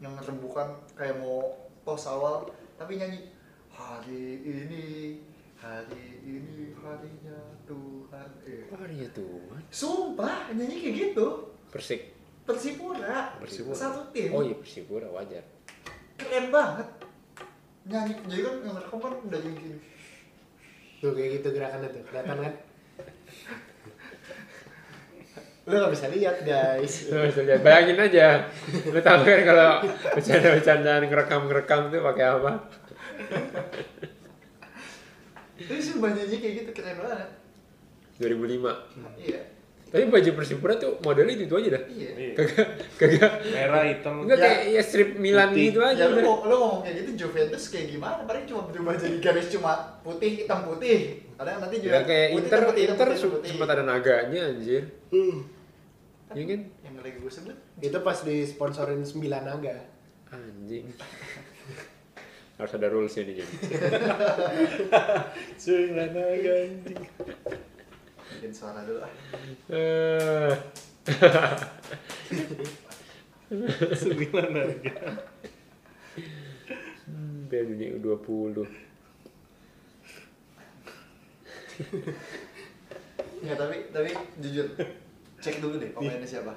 [SPEAKER 1] yang rembukan kayak mau pos awal tapi nyanyi hari ini hari ini harinya Tuhan. Eh.
[SPEAKER 4] Wah dia Tuhan.
[SPEAKER 1] Sumpah nyanyi kayak gitu
[SPEAKER 4] Persik.
[SPEAKER 1] Persipura,
[SPEAKER 4] Persipura.
[SPEAKER 1] satu tim
[SPEAKER 4] Oh iya Persipura wajar.
[SPEAKER 1] keren banget nyanyi jadi kan yang rekam kan udah yang gini
[SPEAKER 3] Tuh kayak gitu gerakannya tuh. Kelihatan kan? Lo gak bisa lihat guys.
[SPEAKER 4] Lu bisa lihat, bayangin aja. Lu tahu kan kalau bercanda-bercandaan ngerekam-ngerekam tuh pakai apa?
[SPEAKER 1] tapi sumpah nyanyi kayak gitu keren banget
[SPEAKER 4] 2005.
[SPEAKER 1] iya
[SPEAKER 4] Tapi baju Persipura tuh modelnya itu aja dah.
[SPEAKER 1] iya
[SPEAKER 4] Kagak kagak
[SPEAKER 2] Merah hitam.
[SPEAKER 4] enggak
[SPEAKER 1] Ya.
[SPEAKER 4] kayak ya strip Milan
[SPEAKER 2] Putih.
[SPEAKER 4] gitu aja
[SPEAKER 1] Ya lu,
[SPEAKER 4] udah.
[SPEAKER 1] mau- lu ngomong kayak gitu Juventus kayak gimana? Paling cuma berubah jadi garis cuma putih hitam putih. Kadang nanti juga
[SPEAKER 4] Ya kayak
[SPEAKER 1] putih,
[SPEAKER 4] Inter
[SPEAKER 1] hitam, putih, hitam,
[SPEAKER 4] Inter
[SPEAKER 1] putih, hitam,
[SPEAKER 4] su-
[SPEAKER 1] putih.
[SPEAKER 4] sempat ada naganya anjir. Iya kan?
[SPEAKER 1] Yang lagi gue sebut
[SPEAKER 3] Hmm. Itu pas disponsorin Sembilan Naga.
[SPEAKER 4] Anjing. *laughs* Harus ada rules ini jadi.
[SPEAKER 2] Sembilan naga anjing.
[SPEAKER 1] bikin suara dulu ah.
[SPEAKER 4] Eh,
[SPEAKER 2] *laughs* Sembilan naga.
[SPEAKER 4] Piala Dunia U20. Iya.
[SPEAKER 1] Ya tapi tapi jujur cek dulu deh pemainnya siapa.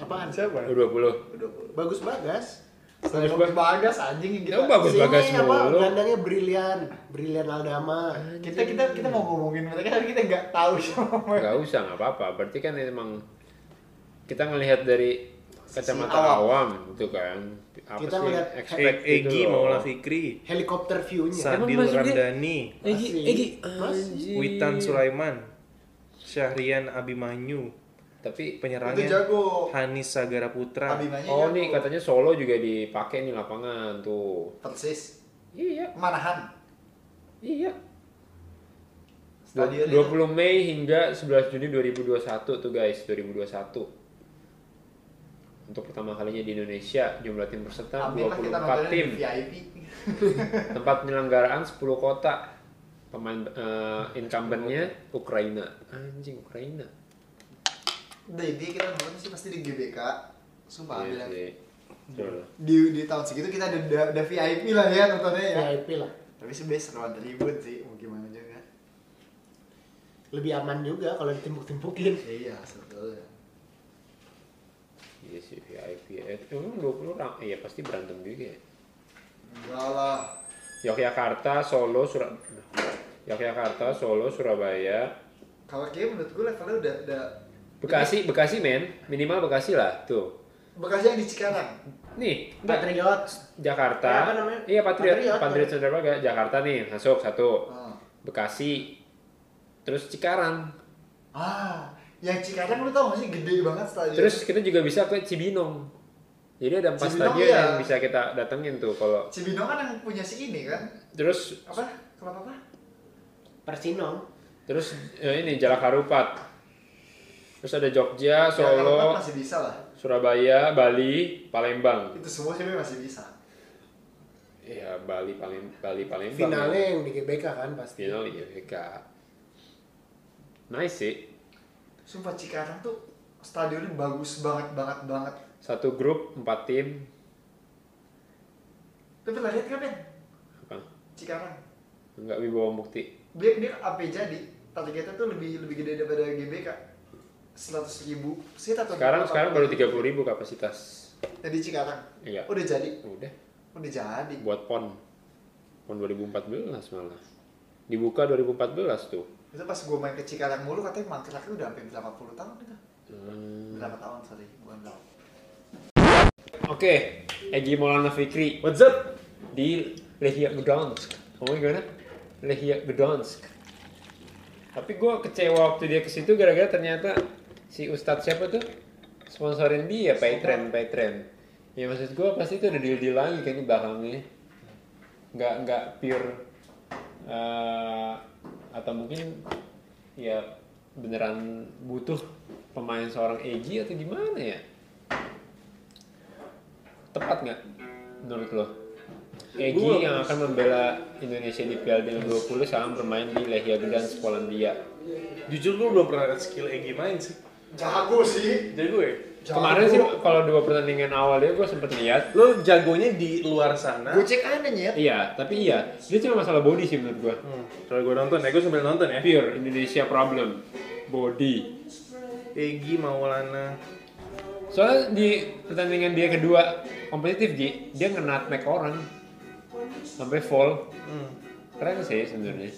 [SPEAKER 3] Apaan?
[SPEAKER 2] Siapa?
[SPEAKER 4] U20.
[SPEAKER 1] Udah,
[SPEAKER 3] Bagus Bagas.
[SPEAKER 1] Selain bagus bagas anjing yang kita.
[SPEAKER 4] Ya, bagus.
[SPEAKER 3] Si ini
[SPEAKER 4] Bagas
[SPEAKER 3] apa,
[SPEAKER 4] mulu.
[SPEAKER 3] Gelandangnya brilian, brilian Aldama.
[SPEAKER 4] gitu.
[SPEAKER 1] Kita kita kita mau ngomongin mereka tapi kita nggak tahu siapa mereka.
[SPEAKER 4] Gak usah, nggak apa-apa. Berarti kan emang kita ngelihat dari kacamata
[SPEAKER 1] awam.
[SPEAKER 4] awam gitu kan. Apa
[SPEAKER 3] Kita
[SPEAKER 4] sih
[SPEAKER 3] ngelihat
[SPEAKER 4] expect
[SPEAKER 2] E-
[SPEAKER 4] gitu
[SPEAKER 2] Egi
[SPEAKER 4] loh.
[SPEAKER 2] Maula Fikri,
[SPEAKER 3] Helikopter view-nya.
[SPEAKER 2] Sadil
[SPEAKER 4] Emang maksudnya-
[SPEAKER 2] Ramdhani,
[SPEAKER 4] Egi,
[SPEAKER 3] Masih.
[SPEAKER 4] Egi,
[SPEAKER 3] Masih.
[SPEAKER 4] anjir.
[SPEAKER 2] Witan Sulaiman, Syahrian Abimanyu,
[SPEAKER 4] Tapi
[SPEAKER 1] Itu
[SPEAKER 2] penyerangnya
[SPEAKER 1] jago.
[SPEAKER 2] Hanis Sagara Putra.
[SPEAKER 1] Abimanya
[SPEAKER 4] oh
[SPEAKER 1] jago.
[SPEAKER 4] nih katanya Solo juga dipakai nih lapangan tuh.
[SPEAKER 1] Persis.
[SPEAKER 4] Iya,
[SPEAKER 1] Manahan.
[SPEAKER 4] iya.
[SPEAKER 1] Stadionnya.
[SPEAKER 4] 20 Mei hingga 11 Juni 2021 tuh guys, 2021. Untuk pertama kalinya di Indonesia, jumlah tim peserta
[SPEAKER 1] Hampir lah kita
[SPEAKER 4] 24
[SPEAKER 1] nontonnya di
[SPEAKER 4] tim.
[SPEAKER 1] VIP.
[SPEAKER 4] *laughs* Tempat penyelenggaraan 10 kota. Pemain eh, incumbent-nya Ukraina. Anjing Ukraina.
[SPEAKER 1] Dari dia kita nonton sih pasti di GBK. Sumpah
[SPEAKER 4] Iya
[SPEAKER 1] bilang.
[SPEAKER 4] sih. Betul.
[SPEAKER 1] Di di tahun segitu kita ada ada, ada VIP lah ya nontonnya ya.
[SPEAKER 3] VIP lah.
[SPEAKER 1] Tapi sebenarnya seruan ribut sih, mau gimana juga.
[SPEAKER 3] Lebih aman juga kalau ditimpuk-timpukin.
[SPEAKER 1] Iya, sebetulnya.
[SPEAKER 4] Iya sih VIP. Eh, Emang 20 orang, iya pasti berantem juga ya.
[SPEAKER 1] Enggak lah.
[SPEAKER 4] Yogyakarta, Solo, Surab Yogyakarta, Solo, Surabaya,
[SPEAKER 1] Kalau kayak menurut gue levelnya udah udah
[SPEAKER 4] Bekasi, Bekasi men, minimal Bekasi lah tuh.
[SPEAKER 1] Bekasi yang di Cikarang.
[SPEAKER 4] Nih,
[SPEAKER 3] Patriot.
[SPEAKER 4] Jakarta.
[SPEAKER 3] Eh, apa namanya?
[SPEAKER 4] Iya, Patriot.
[SPEAKER 3] Patriot.
[SPEAKER 4] Patriot, Cendera Baga. Jakarta nih, masuk satu.
[SPEAKER 1] Ah.
[SPEAKER 4] Bekasi. Terus Cikarang.
[SPEAKER 1] Ah, yang Cikarang lu tau gak sih gede banget stadion.
[SPEAKER 4] Terus kita juga bisa ke Cibinong. Jadi ada empat
[SPEAKER 1] Cibinong,
[SPEAKER 4] stadion
[SPEAKER 1] iya.
[SPEAKER 4] yang bisa kita datengin tuh kalau.
[SPEAKER 1] Cibinong kan yang punya si ini kan?
[SPEAKER 4] Terus
[SPEAKER 1] Apa? Kelapa apa?
[SPEAKER 3] Persinong.
[SPEAKER 4] terus eh, ini Jalak Harupat. Terus ada Jogja,
[SPEAKER 1] Jakarta
[SPEAKER 4] Solo,
[SPEAKER 1] masih bisa lah.
[SPEAKER 4] Surabaya, Bali, Palembang.
[SPEAKER 1] Itu semua sih masih bisa.
[SPEAKER 4] Iya, Bali, Palem, Bali, Palembang.
[SPEAKER 3] Finalnya yang di GBK kan pasti.
[SPEAKER 4] Final ya, Nice sih.
[SPEAKER 1] Sumpah Cikarang tuh stadionnya bagus banget banget banget.
[SPEAKER 4] Satu grup, empat tim.
[SPEAKER 1] Tapi pernah lihat kan Ben?
[SPEAKER 4] Apa?
[SPEAKER 1] Cikarang.
[SPEAKER 4] Enggak Wibawa Mukti.
[SPEAKER 1] Dia dia apa jadi? Targetnya tuh lebih lebih gede daripada GBK. 100 ribu. Sih tato
[SPEAKER 4] Sekarang sekarang baru 30.000 ribu kapasitas.
[SPEAKER 1] Jadi Cikarang.
[SPEAKER 4] Iya.
[SPEAKER 1] Udah jadi.
[SPEAKER 4] Udah
[SPEAKER 1] Udah jadi.
[SPEAKER 4] buat PON. PON 2014 malah. Dibuka 2014 tuh.
[SPEAKER 1] Itu pas gue main ke Cikarang mulu katanya mangkraknya udah hampir berapa puluh tahun itu.
[SPEAKER 4] Hmm.
[SPEAKER 1] Berapa tahun sorry, bukan tahun.
[SPEAKER 4] Oke, Egi Maulana Fikri
[SPEAKER 2] What's up?
[SPEAKER 4] di Lechia Gdansk. Kamu gimana? Lechia Gdansk. Tapi gua kecewa waktu dia ke situ gara-gara ternyata si Ustadz siapa tuh sponsorin dia Patreon, Patreon. Ya maksud gua pasti itu ada deal-deal lagi kan di belakangnya. Nggak nggak pure eh, atau mungkin ya beneran butuh pemain seorang Egi atau gimana ya? tepat nggak menurut lo? Egy yang akan membela Indonesia di Piala Dunia 20 sama bermain di Lechia Gdansk Polandia.
[SPEAKER 2] Jujur gue belum pernah lihat skill Egi main sih. ya?
[SPEAKER 1] Jago sih.
[SPEAKER 2] Jadi gue,
[SPEAKER 1] Jago.
[SPEAKER 4] Kemarin sih kalau dua pertandingan awal dia gue sempet lihat.
[SPEAKER 2] lo jagonya di luar sana.
[SPEAKER 1] Gue cek aja nyet.
[SPEAKER 4] Iya, tapi iya, dia cuma masalah body sih menurut gue.
[SPEAKER 2] Hmm, kalau gue nonton ya, gue sambil nonton ya.
[SPEAKER 4] Pure Indonesia problem, body.
[SPEAKER 2] Egi Maulana.
[SPEAKER 4] Soalnya di pertandingan dia kedua kompetitif Gi, dia ngenat naik orang sampai fall.
[SPEAKER 2] Hmm.
[SPEAKER 4] Keren sih sebenarnya.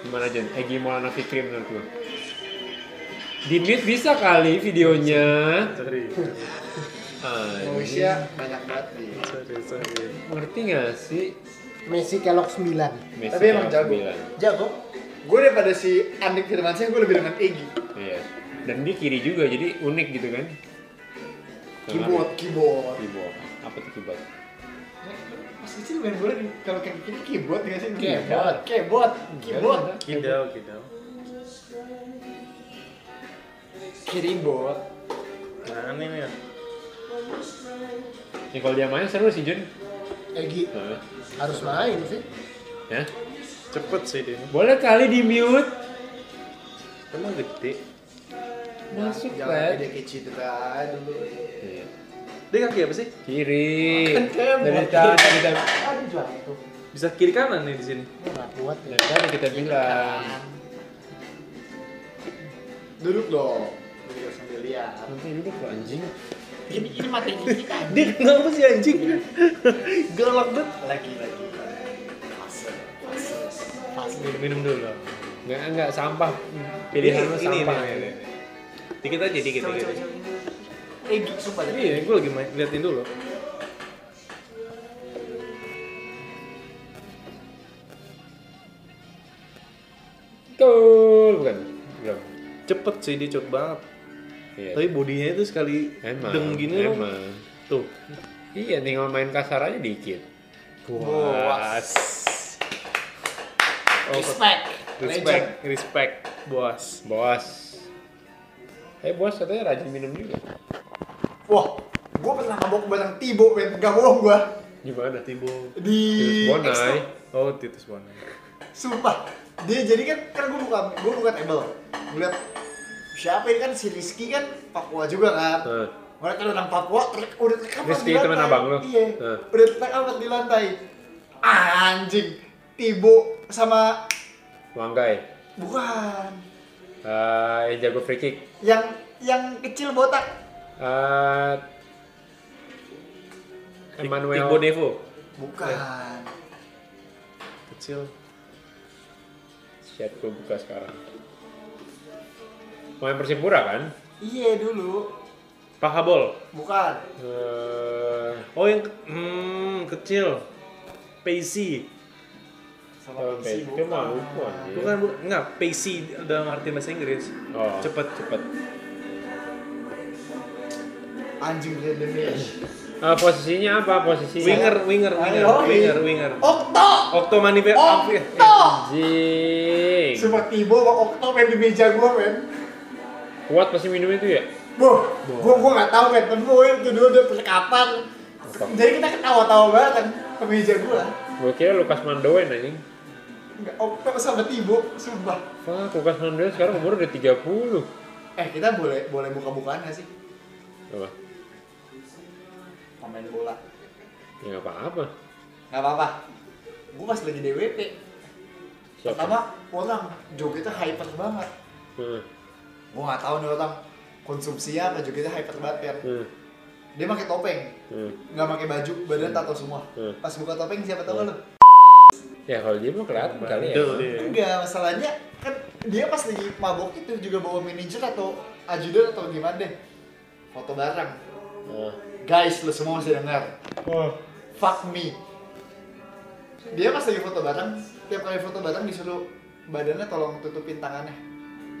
[SPEAKER 4] Gimana Jen? Egy Maulana Fikri menurut lo? Di mute bisa kali videonya.
[SPEAKER 2] Sorry,
[SPEAKER 4] Anjing.
[SPEAKER 1] Malaysia banyak banget nih.
[SPEAKER 2] sorry, sorry.
[SPEAKER 4] Ngerti gak sih?
[SPEAKER 3] Messi Kelok 9.
[SPEAKER 4] Messi
[SPEAKER 1] Tapi emang
[SPEAKER 4] yang
[SPEAKER 1] jago.
[SPEAKER 4] sembilan.
[SPEAKER 3] Jago.
[SPEAKER 1] Gue daripada si Andik Firmansyah, gue lebih demen Egi.
[SPEAKER 4] Iya. Dan dia kiri juga, jadi unik gitu kan?
[SPEAKER 1] Keyboard, keyboard.
[SPEAKER 4] Keyboard. Apa tuh keyboard?
[SPEAKER 1] Mas kecil main bola di- kalau kayak gini keyboard nggak sih?
[SPEAKER 4] Keyboard.
[SPEAKER 1] keyboard, keyboard,
[SPEAKER 2] Kidal, kidal.
[SPEAKER 1] keyboard.
[SPEAKER 2] Nah, ini nih.
[SPEAKER 4] Ya kalau dia main seru sih Jun.
[SPEAKER 3] Egi
[SPEAKER 4] Nah.
[SPEAKER 3] harus main sih.
[SPEAKER 4] Ya.
[SPEAKER 2] Cepet sih dia.
[SPEAKER 4] Boleh kali di mute.
[SPEAKER 2] Emang gede.
[SPEAKER 4] Masuk
[SPEAKER 1] Jangan
[SPEAKER 4] Fred.
[SPEAKER 1] beda kayak cedera dulu.
[SPEAKER 4] Iya.
[SPEAKER 2] Dia kaki apa sih?
[SPEAKER 4] Kiri.
[SPEAKER 1] Kan keyboard.
[SPEAKER 4] Dari tadi kita
[SPEAKER 3] Aduh jatuh.
[SPEAKER 2] Bisa kiri kanan nih di sini.
[SPEAKER 4] Iya.
[SPEAKER 3] Nggak kuat ya.
[SPEAKER 4] dari tadi kita bilang.
[SPEAKER 1] Duduk dong. Duduk sambil lihat.
[SPEAKER 4] Nanti duduk lo anjing.
[SPEAKER 5] Ini ini materi kita.
[SPEAKER 2] Dia kenapa sih anjing? Galak banget.
[SPEAKER 1] Lagi lagi. Fase. Fase.
[SPEAKER 2] Minum dulu.
[SPEAKER 4] Enggak enggak sampah. Pilihan lo sampah.
[SPEAKER 2] ini, ini. Dikit aja, dikit,
[SPEAKER 1] Coba
[SPEAKER 2] dikit.
[SPEAKER 1] coba coba. Eh, duduk, sumpah deh.
[SPEAKER 2] Iya, gue lagi main, liatin dulu.
[SPEAKER 4] Betul, bukan? Belum.
[SPEAKER 2] Cepet sih, dia cepet banget.
[SPEAKER 4] Iya.
[SPEAKER 2] Tapi bodinya itu sekali
[SPEAKER 4] emang,
[SPEAKER 2] deng gini loh.
[SPEAKER 4] emang.
[SPEAKER 2] Tuh.
[SPEAKER 4] Iya, tinggal main kasar aja dikit.
[SPEAKER 1] Puas.
[SPEAKER 5] Respect.
[SPEAKER 2] Respect, respect, bos.
[SPEAKER 4] Bos. Eh, bos katanya rajin minum juga.
[SPEAKER 1] Wah, gua pernah mabok bareng Tibo, men. Gak bohong gua.
[SPEAKER 4] Gimana?
[SPEAKER 2] Tibo.
[SPEAKER 1] Di
[SPEAKER 4] Terus Bonai.
[SPEAKER 1] Extra.
[SPEAKER 2] Oh, Titus Bonai.
[SPEAKER 1] Sumpah. Dia jadi kan kan gue buka gue buka table. Ngeliat siapa ini kan si Rizky kan Papua juga kan.
[SPEAKER 4] Heeh.
[SPEAKER 1] Mereka orang Papua ter- udah terkapat
[SPEAKER 4] Rizky,
[SPEAKER 1] di lantai.
[SPEAKER 4] teman abang lu?
[SPEAKER 1] Iya.
[SPEAKER 4] Heeh.
[SPEAKER 1] Udah terkapat di lantai. Anjing. Tibo sama
[SPEAKER 4] Wanggai.
[SPEAKER 1] bukan
[SPEAKER 4] Eh, yang jago free kick.
[SPEAKER 1] yang yang kecil botak.
[SPEAKER 4] Eh, Emmanuel.
[SPEAKER 2] Igbo Devo.
[SPEAKER 1] Bukan.
[SPEAKER 2] Kecil.
[SPEAKER 4] Shit, gue buka sekarang. Main Persipura kan?
[SPEAKER 1] Iya dulu.
[SPEAKER 2] Pak Habol.
[SPEAKER 1] Bukan.
[SPEAKER 4] Eh,
[SPEAKER 2] Oh, yang ke- hmm, kecil. Pacey.
[SPEAKER 1] Sama
[SPEAKER 4] Oke,
[SPEAKER 1] Pepsi
[SPEAKER 4] itu mah lupa, anjing.
[SPEAKER 2] Bukan, bu, enggak, pacey dalam arti bahasa Inggris.
[SPEAKER 4] Oh.
[SPEAKER 2] Cepet, cepet.
[SPEAKER 1] Anjing dia demi.
[SPEAKER 4] eh, posisinya apa? Posisinya?
[SPEAKER 2] Winger, winger, winger,
[SPEAKER 1] Ayo.
[SPEAKER 2] winger, winger. Ya,
[SPEAKER 1] Okto.
[SPEAKER 2] Okto iya. Manifer.
[SPEAKER 1] Oh! Okto.
[SPEAKER 4] Anjing.
[SPEAKER 1] Sumpah Tibo sama Okto main di meja gua, men.
[SPEAKER 4] Kuat pasti minum itu ya?
[SPEAKER 1] Boh, gua gua nggak tahu kan, tapi gua itu dulu udah percakapan. Jadi kita ketawa-tawa banget kan ke meja gua.
[SPEAKER 4] Gue kira Lukas Mandoen anjing.
[SPEAKER 1] Nggak okto sama tibo, sumpah.
[SPEAKER 4] Wah, Lukas Mandoen sekarang umur udah 30.
[SPEAKER 1] Eh kita boleh boleh buka-bukaan nggak sih?
[SPEAKER 4] Apa?
[SPEAKER 1] Pemain bola.
[SPEAKER 4] Ya nggak apa-apa.
[SPEAKER 1] Nggak apa-apa. Gua pas lagi DWP,
[SPEAKER 4] Siapa?
[SPEAKER 1] pertama orang jogetnya hyper banget.
[SPEAKER 4] Hmm,
[SPEAKER 1] Gua nggak tahu nih orang konsumsi apa jogetnya hyper banget kan.
[SPEAKER 4] hmm,
[SPEAKER 1] Dia pakai topeng,
[SPEAKER 4] hmm.
[SPEAKER 1] nggak pakai baju, badan tato semua.
[SPEAKER 4] Hmm.
[SPEAKER 1] Pas buka topeng siapa tahu lu?
[SPEAKER 4] Ya kalau dia mah kelihatan kali ya.
[SPEAKER 2] Bandel dia.
[SPEAKER 1] Enggak, masalahnya kan dia pas lagi mabok itu juga bawa manajer atau ajudan atau gimana deh. Foto bareng.
[SPEAKER 4] Nah.
[SPEAKER 1] Guys, lu semua masih dengar. Fuck me. Dia pas lagi foto bareng, tiap kali foto bareng disuruh badannya tolong tutupin tangannya.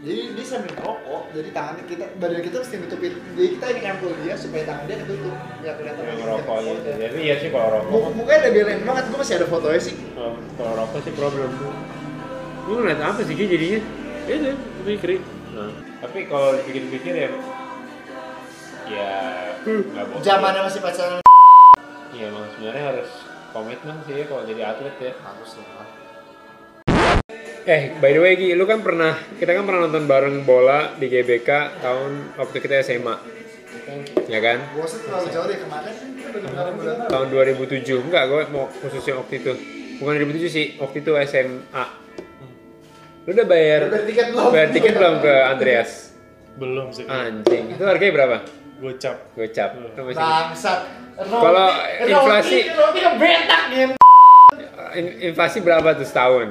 [SPEAKER 1] Jadi dia sambil ngerokok, jadi tangannya kita, badan kita mesti nutupin. Jadi kita ini ampul dia supaya tangan dia ketutup, nggak kelihatan.
[SPEAKER 4] Yang rokok gitu. Jadi iya sih kalau rokok.
[SPEAKER 1] Muk- Mukanya udah geleng banget, gue masih ada fotonya sih.
[SPEAKER 4] Kalau kalau rokok sih problem tuh. Lu ngeliat apa sih Ki, jadinya? Ya Itu, mikir. Nah. Tapi kalau dipikir-pikir ya ya nggak boleh.
[SPEAKER 1] Zamannya masih pacaran.
[SPEAKER 4] Iya emang sebenarnya harus komitmen sih ya kalau jadi atlet ya.
[SPEAKER 1] Harus lah.
[SPEAKER 4] Eh, by the way Ki, lu kan pernah kita kan pernah nonton bareng bola di GBK tahun waktu kita SMA. Ya kan?
[SPEAKER 1] Gue sih terlalu jauh deh kemarin kan kita udah benar bulan
[SPEAKER 4] Tahun 2007. Enggak, gue mau khususnya waktu itu. Bukan 2007 sih, waktu itu SMA. Lu udah bayar
[SPEAKER 1] Udah bayar tiket belum?
[SPEAKER 4] Bayar tiket belum ke Andreas?
[SPEAKER 2] Belum sih.
[SPEAKER 4] Anjing, itu harganya berapa?
[SPEAKER 2] Gocap.
[SPEAKER 4] Gocap.
[SPEAKER 1] Hmm.
[SPEAKER 4] Lu masih
[SPEAKER 1] bangsat.
[SPEAKER 4] Kalau eh, inflasi-
[SPEAKER 1] roti kebetak nih.
[SPEAKER 4] In- inflasi berapa tuh setahun?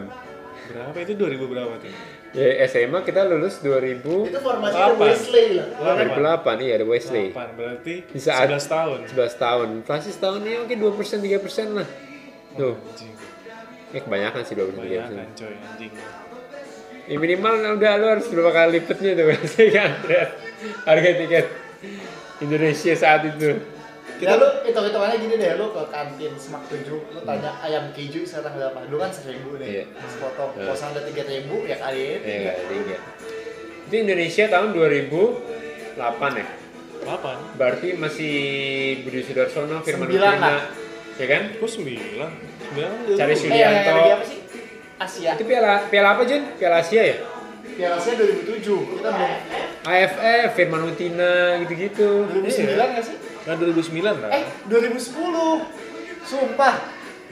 [SPEAKER 2] Berapa itu 2000 berapa tuh?
[SPEAKER 4] Ya SMA kita lulus 2000
[SPEAKER 1] Itu formasi The Wesley lah.
[SPEAKER 4] 2008 iya ada Wesley.
[SPEAKER 2] 8 berarti
[SPEAKER 4] Di saat-
[SPEAKER 2] 11 tahun.
[SPEAKER 4] 11 tahun. Inflasi setahun ini mungkin 2% 3% lah. Tuh,
[SPEAKER 2] Anjing.
[SPEAKER 4] ini kebanyakan sih 2%
[SPEAKER 2] Bayangkan
[SPEAKER 4] 3%.
[SPEAKER 2] coy anjing.
[SPEAKER 4] Ya minimal udah lu harus berapa kali lipatnya tuh *laughs* Wesley kan. Andreas. Harga tiket Indonesia saat itu.
[SPEAKER 1] Kita Ya, lu hitung-hitungannya gini deh, lu ke kantin Semak 7, lu tanya
[SPEAKER 3] Hmm.
[SPEAKER 1] ayam keju sekarang berapa? Lu kan seribu
[SPEAKER 4] Iya.
[SPEAKER 1] deh, sepotong.
[SPEAKER 3] Hmm.
[SPEAKER 4] Iya.
[SPEAKER 1] Kosan ada tiga ribu ya
[SPEAKER 3] Eh,
[SPEAKER 1] kali ini.
[SPEAKER 4] Iya, tiga. Itu Indonesia tahun 2008 ya.
[SPEAKER 2] 8.
[SPEAKER 4] Berarti masih Budi Sudarsono, Firman
[SPEAKER 1] Sembilan lah.
[SPEAKER 4] Utina, ya kan?
[SPEAKER 2] Kok 9? 9
[SPEAKER 4] Cari
[SPEAKER 1] Eh,
[SPEAKER 4] sini.
[SPEAKER 1] yang yang
[SPEAKER 4] Sulianto.
[SPEAKER 1] lagi apa sih? Asia.
[SPEAKER 4] Itu piala piala apa Jun? Piala Asia ya?
[SPEAKER 1] Piala Asia 2007, kita belum
[SPEAKER 3] Iya.
[SPEAKER 4] AFF, Firman Utina, gitu-gitu.
[SPEAKER 1] 2009 nggak sih?
[SPEAKER 2] Nah 2009 lah.
[SPEAKER 1] Eh, 2010. Sumpah.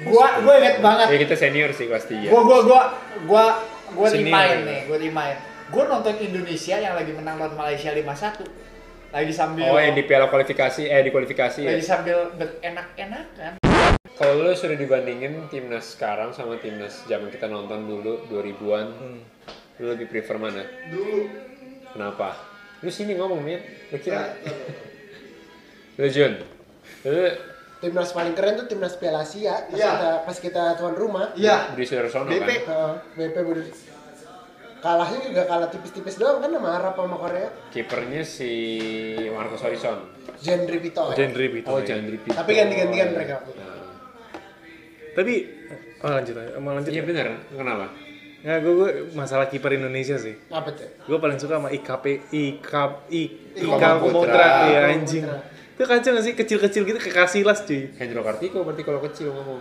[SPEAKER 1] Gua gua inget banget.
[SPEAKER 4] Ya kita senior sih pasti ya.
[SPEAKER 1] gua gua gua gua gua
[SPEAKER 4] Senior
[SPEAKER 1] timain
[SPEAKER 4] ya.
[SPEAKER 1] nih gua timain
[SPEAKER 5] gue nonton Indonesia yang lagi menang lawan Malaysia 5-1 lagi sambil
[SPEAKER 4] Oh, yang di piala kualifikasi, eh di kualifikasi
[SPEAKER 1] Iya.
[SPEAKER 4] ya.
[SPEAKER 5] lagi sambil berenak-enakan
[SPEAKER 4] Kalau lu sudah dibandingin timnas sekarang sama timnas zaman kita nonton dulu 2000-an, lu lebih prefer mana?
[SPEAKER 1] Dulu.
[SPEAKER 4] Kenapa? Lu sini ngomong, Mir.
[SPEAKER 1] Nah,
[SPEAKER 4] Lu kira. Lu Jun. Lu
[SPEAKER 3] Timnas paling keren tuh timnas Piala Asia pas
[SPEAKER 1] Iya.
[SPEAKER 3] kita pas kita tuan rumah.
[SPEAKER 1] Iya.
[SPEAKER 4] di Sudarsono
[SPEAKER 1] BP.
[SPEAKER 4] kan?
[SPEAKER 3] Heeh, BP bener. Kalahnya juga kalah tipis-tipis doang kan sama Arab sama Korea.
[SPEAKER 4] Kipernya si Marcos Horizon.
[SPEAKER 3] Genre Pito.
[SPEAKER 2] genre gitu
[SPEAKER 4] Oh,
[SPEAKER 2] ya.
[SPEAKER 4] jangan Pito.
[SPEAKER 3] Tapi ganti-gantian mereka waktu itu.
[SPEAKER 4] Nah.
[SPEAKER 2] tapi oh, lanjut aja. mau lanjut
[SPEAKER 4] Iya bener, kenapa?
[SPEAKER 2] nggak gue, gue masalah kiper Indonesia sih
[SPEAKER 3] Apa tuh?
[SPEAKER 2] gue paling suka sama IKP IKP
[SPEAKER 1] Ika
[SPEAKER 2] IKP
[SPEAKER 4] Putra.
[SPEAKER 2] Komotra ya anjing itu kacau nggak sih kecil-kecil gitu kayak kasilas cuy
[SPEAKER 4] Hendro Kartiko berarti kalau kecil ngomong.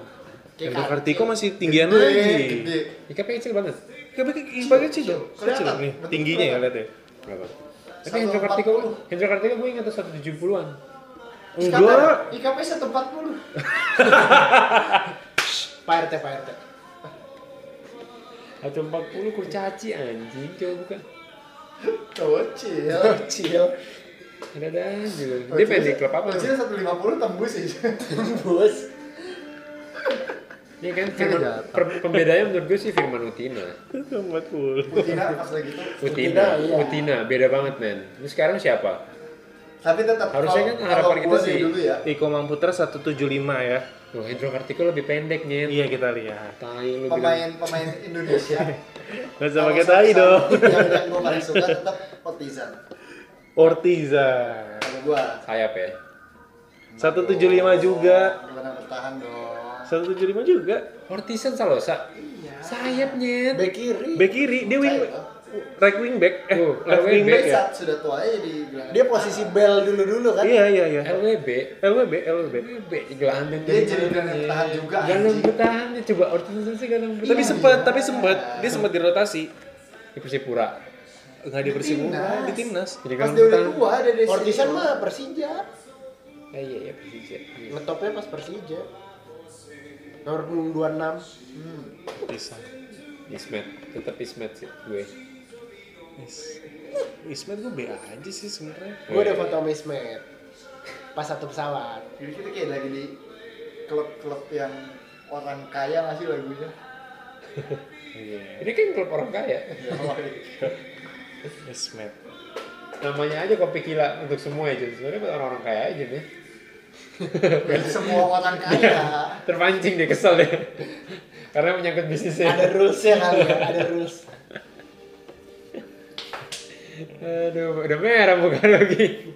[SPEAKER 2] Hendro Kartiko masih tinggian
[SPEAKER 1] Gede,
[SPEAKER 2] lagi
[SPEAKER 1] gede.
[SPEAKER 4] IKP kecil banget.
[SPEAKER 2] Tapi sebagai kecil dong,
[SPEAKER 1] Kelihatan,
[SPEAKER 2] kecil nih
[SPEAKER 1] betul,
[SPEAKER 2] tingginya ya lihat ya.
[SPEAKER 4] Berapa? Tapi
[SPEAKER 1] Satu
[SPEAKER 4] Hendro
[SPEAKER 1] empat
[SPEAKER 4] Kartiko,
[SPEAKER 1] puluh.
[SPEAKER 4] Hendro Kartiko gue ingat tuh 170-an.
[SPEAKER 2] Enggak,
[SPEAKER 1] Sekarang, IKP 140.
[SPEAKER 3] Pak RT, Pak RT.
[SPEAKER 4] 140 kurcaci anjing coba buka.
[SPEAKER 1] Cocil.
[SPEAKER 3] Kecil.
[SPEAKER 4] Ada ada juga.
[SPEAKER 1] Oh,
[SPEAKER 4] Dia main di klub apa?
[SPEAKER 1] Cocil 150 tembus aja.
[SPEAKER 3] Bos.
[SPEAKER 4] Iya kan Firman, per- pembedanya menurut gue sih Firman Utina.
[SPEAKER 2] empat puluh.
[SPEAKER 1] Putina pas lagi itu.
[SPEAKER 4] Utina,
[SPEAKER 3] iya.
[SPEAKER 4] Utina, beda banget men. Lu sekarang siapa?
[SPEAKER 1] Tapi tetap kalau-
[SPEAKER 4] Harusnya kan harapan
[SPEAKER 1] kalau
[SPEAKER 4] kita
[SPEAKER 1] gua
[SPEAKER 4] sih-
[SPEAKER 1] dulu ya.
[SPEAKER 2] Iko Mamputra 175 ya.
[SPEAKER 4] Wah Hendro Kartiko lebih pendek nyet.
[SPEAKER 2] Iya kita lihat.
[SPEAKER 4] Tai lu bilang.
[SPEAKER 1] Pemain pemain
[SPEAKER 4] *laughs*
[SPEAKER 1] Indonesia.
[SPEAKER 2] Gak sama kita tai dong.
[SPEAKER 1] Yang yang gue paling suka tetap Partizan.
[SPEAKER 2] Ortiza.
[SPEAKER 1] Kalau gue
[SPEAKER 4] Sayap ya.
[SPEAKER 2] 175 juga.
[SPEAKER 1] gimana bertahan dong.
[SPEAKER 2] 175 juga.
[SPEAKER 4] Hortison Salosa. Sayap nyet.
[SPEAKER 3] Bek kiri.
[SPEAKER 2] Back kiri, dia wing right wing back, eh
[SPEAKER 4] Oh,
[SPEAKER 2] left
[SPEAKER 4] right
[SPEAKER 2] wing
[SPEAKER 4] wing
[SPEAKER 2] back
[SPEAKER 1] Dia
[SPEAKER 2] ya.
[SPEAKER 1] saat sudah tua aja di bilang.
[SPEAKER 3] Dia posisi bel dulu-dulu kan.
[SPEAKER 2] Iya iya iya.
[SPEAKER 4] LWB.
[SPEAKER 2] LWB LWB.
[SPEAKER 4] LWB gelandang.
[SPEAKER 1] Dia Iya, jadi gelandang bertahan juga,
[SPEAKER 4] Gelandang
[SPEAKER 1] anjing.
[SPEAKER 4] bertahan ya coba Hortison sih gelandang bertahan.
[SPEAKER 2] Tapi sempat tapi sempat dia sempat dirotasi.
[SPEAKER 4] Di Persipura.
[SPEAKER 2] Enggak di Persibura, di timnas.
[SPEAKER 4] Jadi kan
[SPEAKER 1] Pas
[SPEAKER 4] gelandang
[SPEAKER 1] dia udah
[SPEAKER 4] bertahan.
[SPEAKER 1] tua ada di
[SPEAKER 3] Ortisan
[SPEAKER 1] situ.
[SPEAKER 3] mah Persija.
[SPEAKER 4] Eh, Iya iya Persija. Iya.
[SPEAKER 3] Ngetopnya pas Persija. Nomor 26.
[SPEAKER 2] Bisa.
[SPEAKER 4] Ismet, tetap Ismet sih gue.
[SPEAKER 2] Is- Ismet gue B aja sih sebenarnya.
[SPEAKER 3] Gue udah foto sama Ismet. Pas satu pesawat.
[SPEAKER 1] Jadi kita kayak lagi di klub-klub yang orang kaya nggak sih lagunya.
[SPEAKER 2] Iya,
[SPEAKER 4] Ini kan klub orang kaya.
[SPEAKER 2] Ismet.
[SPEAKER 4] Namanya aja kopi gila untuk semua ya, Jun. Sebenarnya buat orang-orang kaya aja nih.
[SPEAKER 1] Jadi *laughs* semua orang kaya.
[SPEAKER 4] Terpancing dia kesel deh. Karena menyangkut bisnisnya.
[SPEAKER 3] Ada rulesnya kali ya, ada rules.
[SPEAKER 4] Aduh, udah merah bukan lagi.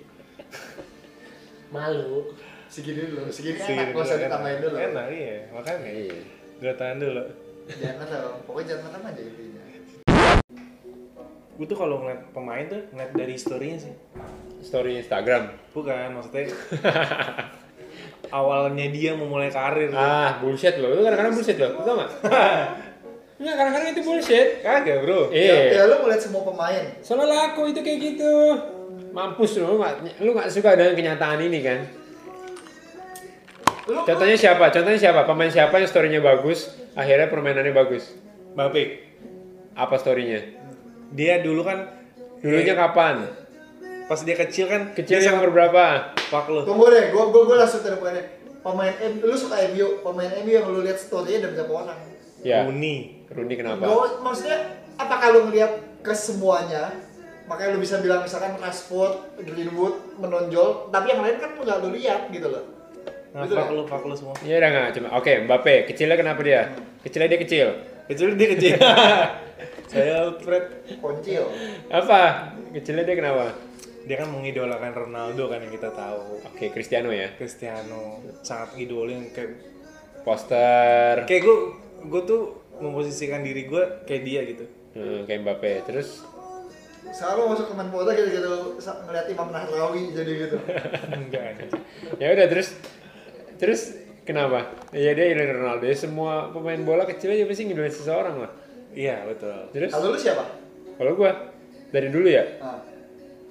[SPEAKER 3] Malu.
[SPEAKER 1] Segini dulu, segini
[SPEAKER 2] Sih,
[SPEAKER 1] enak, gak usah
[SPEAKER 2] enak.
[SPEAKER 1] ditambahin dulu.
[SPEAKER 2] Iya, Enak iya, makanya.
[SPEAKER 4] Iya.
[SPEAKER 2] Gue tahan dulu.
[SPEAKER 1] Jangan dong, pokoknya jangan ngetem aja intinya.
[SPEAKER 2] Gue tuh kalau ngeliat pemain tuh ngeliat dari historinya sih.
[SPEAKER 4] Story Instagram.
[SPEAKER 2] Bukan,
[SPEAKER 1] *laughs*
[SPEAKER 2] maksudnya awalnya dia memulai karir.
[SPEAKER 4] Ah, bullshit loh. Itu kadang-kadang bullshit loh. Lu tau *laughs* gak? Enggak, kadang-kadang itu bullshit.
[SPEAKER 2] Kagak bro.
[SPEAKER 1] Ya, ya
[SPEAKER 4] Iya.
[SPEAKER 1] lu ngeliat semua pemain.
[SPEAKER 4] Soalnya laku itu kayak gitu. Mampus lu, lu gak, lu gak suka dengan kenyataan ini kan?
[SPEAKER 1] Lu
[SPEAKER 4] Contohnya siapa? Contohnya siapa? Pemain siapa yang storynya bagus, akhirnya permainannya bagus?
[SPEAKER 2] Bapak,
[SPEAKER 4] Apa storynya?
[SPEAKER 2] dia dulu kan
[SPEAKER 4] Dulunya kapan?
[SPEAKER 2] pas dia kecil kan
[SPEAKER 4] Kecil yang umur berapa?
[SPEAKER 2] fuck lo.
[SPEAKER 1] Tunggu deh, gua gua gua langsung teleponnya. Pemain M, lu suka MU, pemain MU yang lu lihat story-nya dari berapa orang? Iya.
[SPEAKER 4] Ya.
[SPEAKER 2] Rooney.
[SPEAKER 4] Rooney kenapa?
[SPEAKER 1] Gua maksudnya apakah lu ngeliat ke semuanya? Makanya lu bisa bilang misalkan Rashford, Greenwood menonjol, tapi yang lain kan nggak lu lihat gitu loh.
[SPEAKER 2] Nah,
[SPEAKER 1] Betul
[SPEAKER 2] fuck
[SPEAKER 1] ya?
[SPEAKER 2] lo, fuck lo semua.
[SPEAKER 4] Iya udah nggak cuma. Oke, Mbappe. Kecilnya kenapa dia? Kecilnya dia kecil.
[SPEAKER 2] Kecil dia
[SPEAKER 1] *laughs*
[SPEAKER 2] kecil. Saya Alfred.
[SPEAKER 1] Koncil.
[SPEAKER 4] Apa? Kecilnya dia kenapa?
[SPEAKER 2] Dia kan mengidolakan Ronaldo kan yang kita tahu.
[SPEAKER 4] Oke, Cristiano ya.
[SPEAKER 2] Cristiano sangat idolin kayak
[SPEAKER 4] Poster.
[SPEAKER 2] kayak gue gue tuh memposisikan diri gue kayak dia gitu
[SPEAKER 4] Hmm, kayak Mbappe. Terus
[SPEAKER 1] Selalu masuk ke Menpora gitu-gitu sa- ngeliat Imam Nahrawi jadi gitu.
[SPEAKER 2] enggak anjing.
[SPEAKER 4] ya udah terus terus kenapa? Iya dia idolin Ronaldo. Ya, semua pemain bola kecil aja pasti ngidolain seseorang lah.
[SPEAKER 2] iya betul
[SPEAKER 4] Terus
[SPEAKER 1] Kalau lu siapa?
[SPEAKER 4] kalau gua dari dulu ya
[SPEAKER 1] Nah,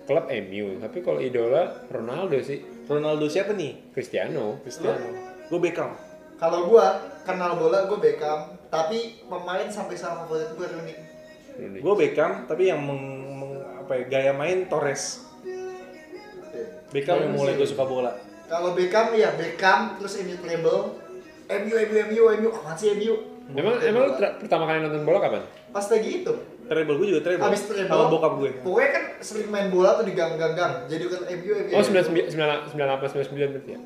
[SPEAKER 4] klub MU, tapi kalau idola Ronaldo sih.
[SPEAKER 2] Ronaldo siapa nih
[SPEAKER 4] Cristiano.
[SPEAKER 2] Cristiano gue Beckham
[SPEAKER 1] kalau gua kenal bola gua Beckham, tapi pemain sampai sama favorit gua Rooney.
[SPEAKER 2] Gue Beckham, tapi yang meng, meng- apa ya, gaya main Torres. Beckham yang mulai gue suka bola.
[SPEAKER 1] Kalau Beckham ya Beckham terus immutable. MU MU MU MU Ah, apaan sih MU?
[SPEAKER 4] Emang emang lu tra- pertama kali nonton bola kapan?
[SPEAKER 1] pas lagi itu
[SPEAKER 2] Treble gue juga treble.
[SPEAKER 1] abis treble
[SPEAKER 2] Sama bokap gue.
[SPEAKER 1] pokoknya kan sering main bola tuh digang-gang-gang jadi kan MU MU
[SPEAKER 4] Oh, 99 98 99 berarti ya.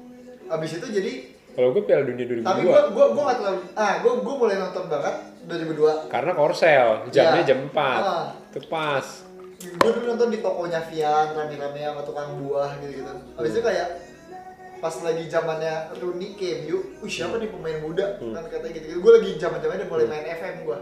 [SPEAKER 1] abis itu jadi
[SPEAKER 4] Kalau gue Piala Dunia
[SPEAKER 1] tapi gua
[SPEAKER 4] 2002
[SPEAKER 1] gua gua nggak terlalu ah gua gua mulai nonton banget 2002
[SPEAKER 4] karena Korsel, jamnya
[SPEAKER 1] Ya.
[SPEAKER 2] Iya.
[SPEAKER 4] jam 4.
[SPEAKER 1] Ah.
[SPEAKER 4] Itu pas.
[SPEAKER 1] gua dulu nonton di tokonya Vian rame-rame sama tukang buah gitu-gitu abis itu kayak pas lagi zamannya Rooney ke MU, wih siapa nih pemain muda
[SPEAKER 2] Hmm.
[SPEAKER 1] kan katanya gitu, -gitu. gue lagi zaman zamannya mulai main FM gua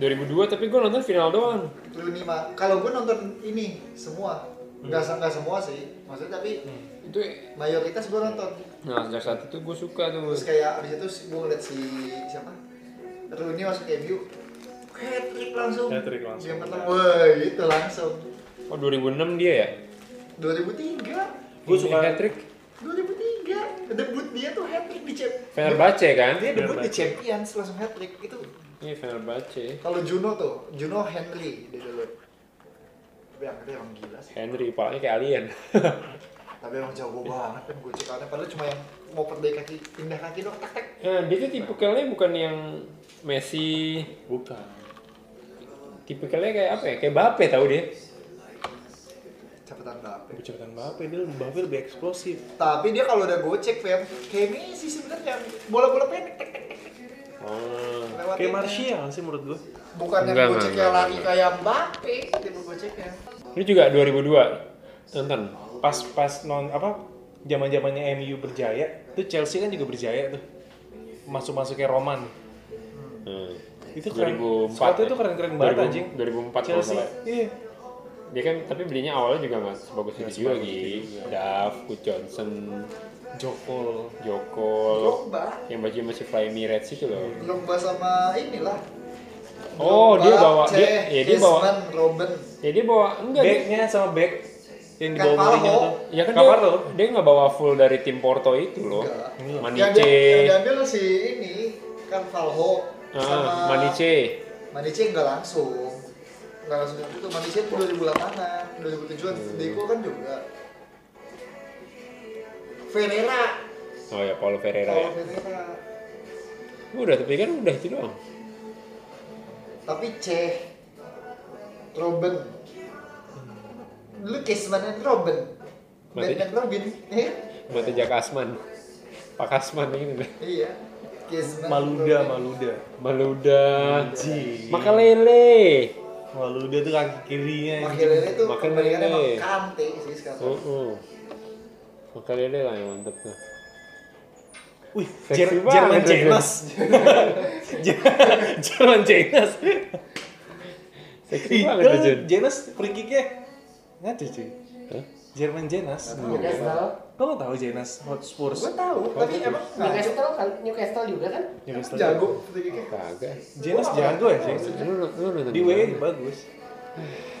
[SPEAKER 4] 2002 tapi gue nonton final doang.
[SPEAKER 1] Rooney mah kalau gua nonton ini semua
[SPEAKER 2] Hmm.
[SPEAKER 1] nggak se- nggak semua sih maksudnya tapi
[SPEAKER 4] Itu
[SPEAKER 1] mayoritas gua nonton
[SPEAKER 4] nah sejak saat itu gue suka tuh.
[SPEAKER 1] terus kayak abis itu gue ngeliat si siapa Rooney masuk ke MU hat-trick langsung
[SPEAKER 2] Hat-trick langsung.
[SPEAKER 1] game pertama woi itu langsung
[SPEAKER 4] Oh, 2006 dia ya?
[SPEAKER 1] 2003
[SPEAKER 2] Gue suka
[SPEAKER 4] hat-trick
[SPEAKER 1] 2003 debut dia tuh hat-trick di champ
[SPEAKER 4] Fenerbahce kan?
[SPEAKER 1] dia debut di
[SPEAKER 2] Fenerbahce.
[SPEAKER 1] Champions langsung hat-trick itu
[SPEAKER 4] Iya, Fenerbahce.
[SPEAKER 1] kalau Juno tuh Juno Henry dia dulu tapi yang dia emang gila sih
[SPEAKER 4] Henry palanya kayak alien. *laughs*
[SPEAKER 1] tapi emang jago banget kan gue cekannya padahal cuma yang mau perdaya kaki pindah kaki doang tak tak
[SPEAKER 4] nah, dia tuh tipikalnya bukan yang Messi,
[SPEAKER 2] bukan.
[SPEAKER 4] tipikalnya kayak apa ya? Kayak Bape tahu dia.
[SPEAKER 1] cepetan tapi
[SPEAKER 2] Ucapan Mbappe dia Mbappe lebih eksplosif.
[SPEAKER 1] tapi dia kalau udah gocek fam kayak Messi sebenarnya yang bola-bola pendek tek, tek, tek,
[SPEAKER 4] Oh.
[SPEAKER 1] lewat
[SPEAKER 2] Kayak
[SPEAKER 1] ini.
[SPEAKER 2] Martial sih menurut gue.
[SPEAKER 1] bukan
[SPEAKER 4] Enggak,
[SPEAKER 1] yang goceknya
[SPEAKER 4] enggak,
[SPEAKER 1] lari kayak Mbappe tipe goceknya
[SPEAKER 4] Lu juga 2002 nonton.
[SPEAKER 2] Pas pas non apa zaman zamannya MU berjaya, tuh Chelsea kan juga berjaya tuh. Masuk masuknya Roman.
[SPEAKER 4] Hmm.
[SPEAKER 2] Itu keren.
[SPEAKER 4] 2004
[SPEAKER 2] Sepatu
[SPEAKER 4] ya?
[SPEAKER 2] itu keren-keren banget
[SPEAKER 4] 2000
[SPEAKER 2] anjing.
[SPEAKER 4] 2004 kalau
[SPEAKER 2] Chelsea.
[SPEAKER 4] salah.
[SPEAKER 2] Iya.
[SPEAKER 4] Dia kan tapi belinya awalnya juga nggak sebagus itu juga
[SPEAKER 2] sebagus
[SPEAKER 4] lagi.
[SPEAKER 2] itu juga.
[SPEAKER 4] Duff, Kut Johnson,
[SPEAKER 2] Jokol.
[SPEAKER 4] Joko,
[SPEAKER 1] Drogba
[SPEAKER 4] yang bajunya masih Fly Me Reds itu
[SPEAKER 2] Hmm.
[SPEAKER 4] loh.
[SPEAKER 1] Drogba sama inilah
[SPEAKER 4] Oh,
[SPEAKER 1] Drogba,
[SPEAKER 4] dia bawa-
[SPEAKER 1] Cech,
[SPEAKER 4] dia- ya, dia bawa-
[SPEAKER 1] Griezmann, Robben
[SPEAKER 4] Ya dia bawa enggak dia,
[SPEAKER 2] Backnya sama back yang
[SPEAKER 1] Kan
[SPEAKER 2] dibawa Mourinho
[SPEAKER 1] Valho.
[SPEAKER 2] tuh.
[SPEAKER 4] ya kan
[SPEAKER 2] Kamar
[SPEAKER 4] dia,
[SPEAKER 2] tuh. Iya.
[SPEAKER 4] dia nggak bawa full dari tim Porto itu loh.
[SPEAKER 1] Enggak. yang, dia, yang
[SPEAKER 4] Manice,
[SPEAKER 1] diambil si ini kan Valho sama
[SPEAKER 4] ah, Manice.
[SPEAKER 1] Maniche enggak langsung enggak langsung yang itu Maniche itu 2008an 2007an
[SPEAKER 4] Hmm.
[SPEAKER 1] Deco kan juga Ferreira
[SPEAKER 4] Oh ya Paulo Ferreira ya.
[SPEAKER 1] Paulo Ferreira
[SPEAKER 4] Udah tapi kan udah itu doang.
[SPEAKER 1] tapi Ceh Robin lu Casman and Robin
[SPEAKER 4] Berarti-
[SPEAKER 1] Batman Robin eh?
[SPEAKER 4] Mata Jak Asman. Pak Asman ini deh.
[SPEAKER 1] iya Casman
[SPEAKER 2] Maluda, Maluda.
[SPEAKER 4] Maluda.
[SPEAKER 2] Anjing.
[SPEAKER 4] Makalele.
[SPEAKER 2] Maluda tuh kaki kirinya. gitu.
[SPEAKER 1] makanya itu
[SPEAKER 4] Makin
[SPEAKER 1] kembaliannya
[SPEAKER 4] lele.
[SPEAKER 1] emang kante sih
[SPEAKER 4] Oh,
[SPEAKER 1] sekarang
[SPEAKER 4] oh. Makalele lah yang mantep tuh.
[SPEAKER 2] Wih,
[SPEAKER 4] Seksi
[SPEAKER 2] Jer-
[SPEAKER 4] banget
[SPEAKER 2] Jerman
[SPEAKER 4] tuh, Jen.
[SPEAKER 2] Jenas. Jer- *laughs* Jerman Jenas.
[SPEAKER 4] Seksi
[SPEAKER 2] Ih,
[SPEAKER 4] banget tuh, Jun.
[SPEAKER 2] Jenas free kicknya ngaco cuy.
[SPEAKER 4] Hah?
[SPEAKER 2] Jerman Jenas.
[SPEAKER 1] Tahu Newcastle?
[SPEAKER 2] Kau nggak tahu Jenas Hotspur?
[SPEAKER 1] gue tahu tapi emang ngaco
[SPEAKER 5] Newcastle kan Newcastle juga kan?
[SPEAKER 4] Eh?
[SPEAKER 2] Jenas
[SPEAKER 1] jago free kick-nya.
[SPEAKER 4] Kagak.
[SPEAKER 2] Jenas jago ya sih.
[SPEAKER 4] Lu lu lu nonton
[SPEAKER 2] Di
[SPEAKER 4] di
[SPEAKER 2] WA
[SPEAKER 4] mana?
[SPEAKER 2] bagus.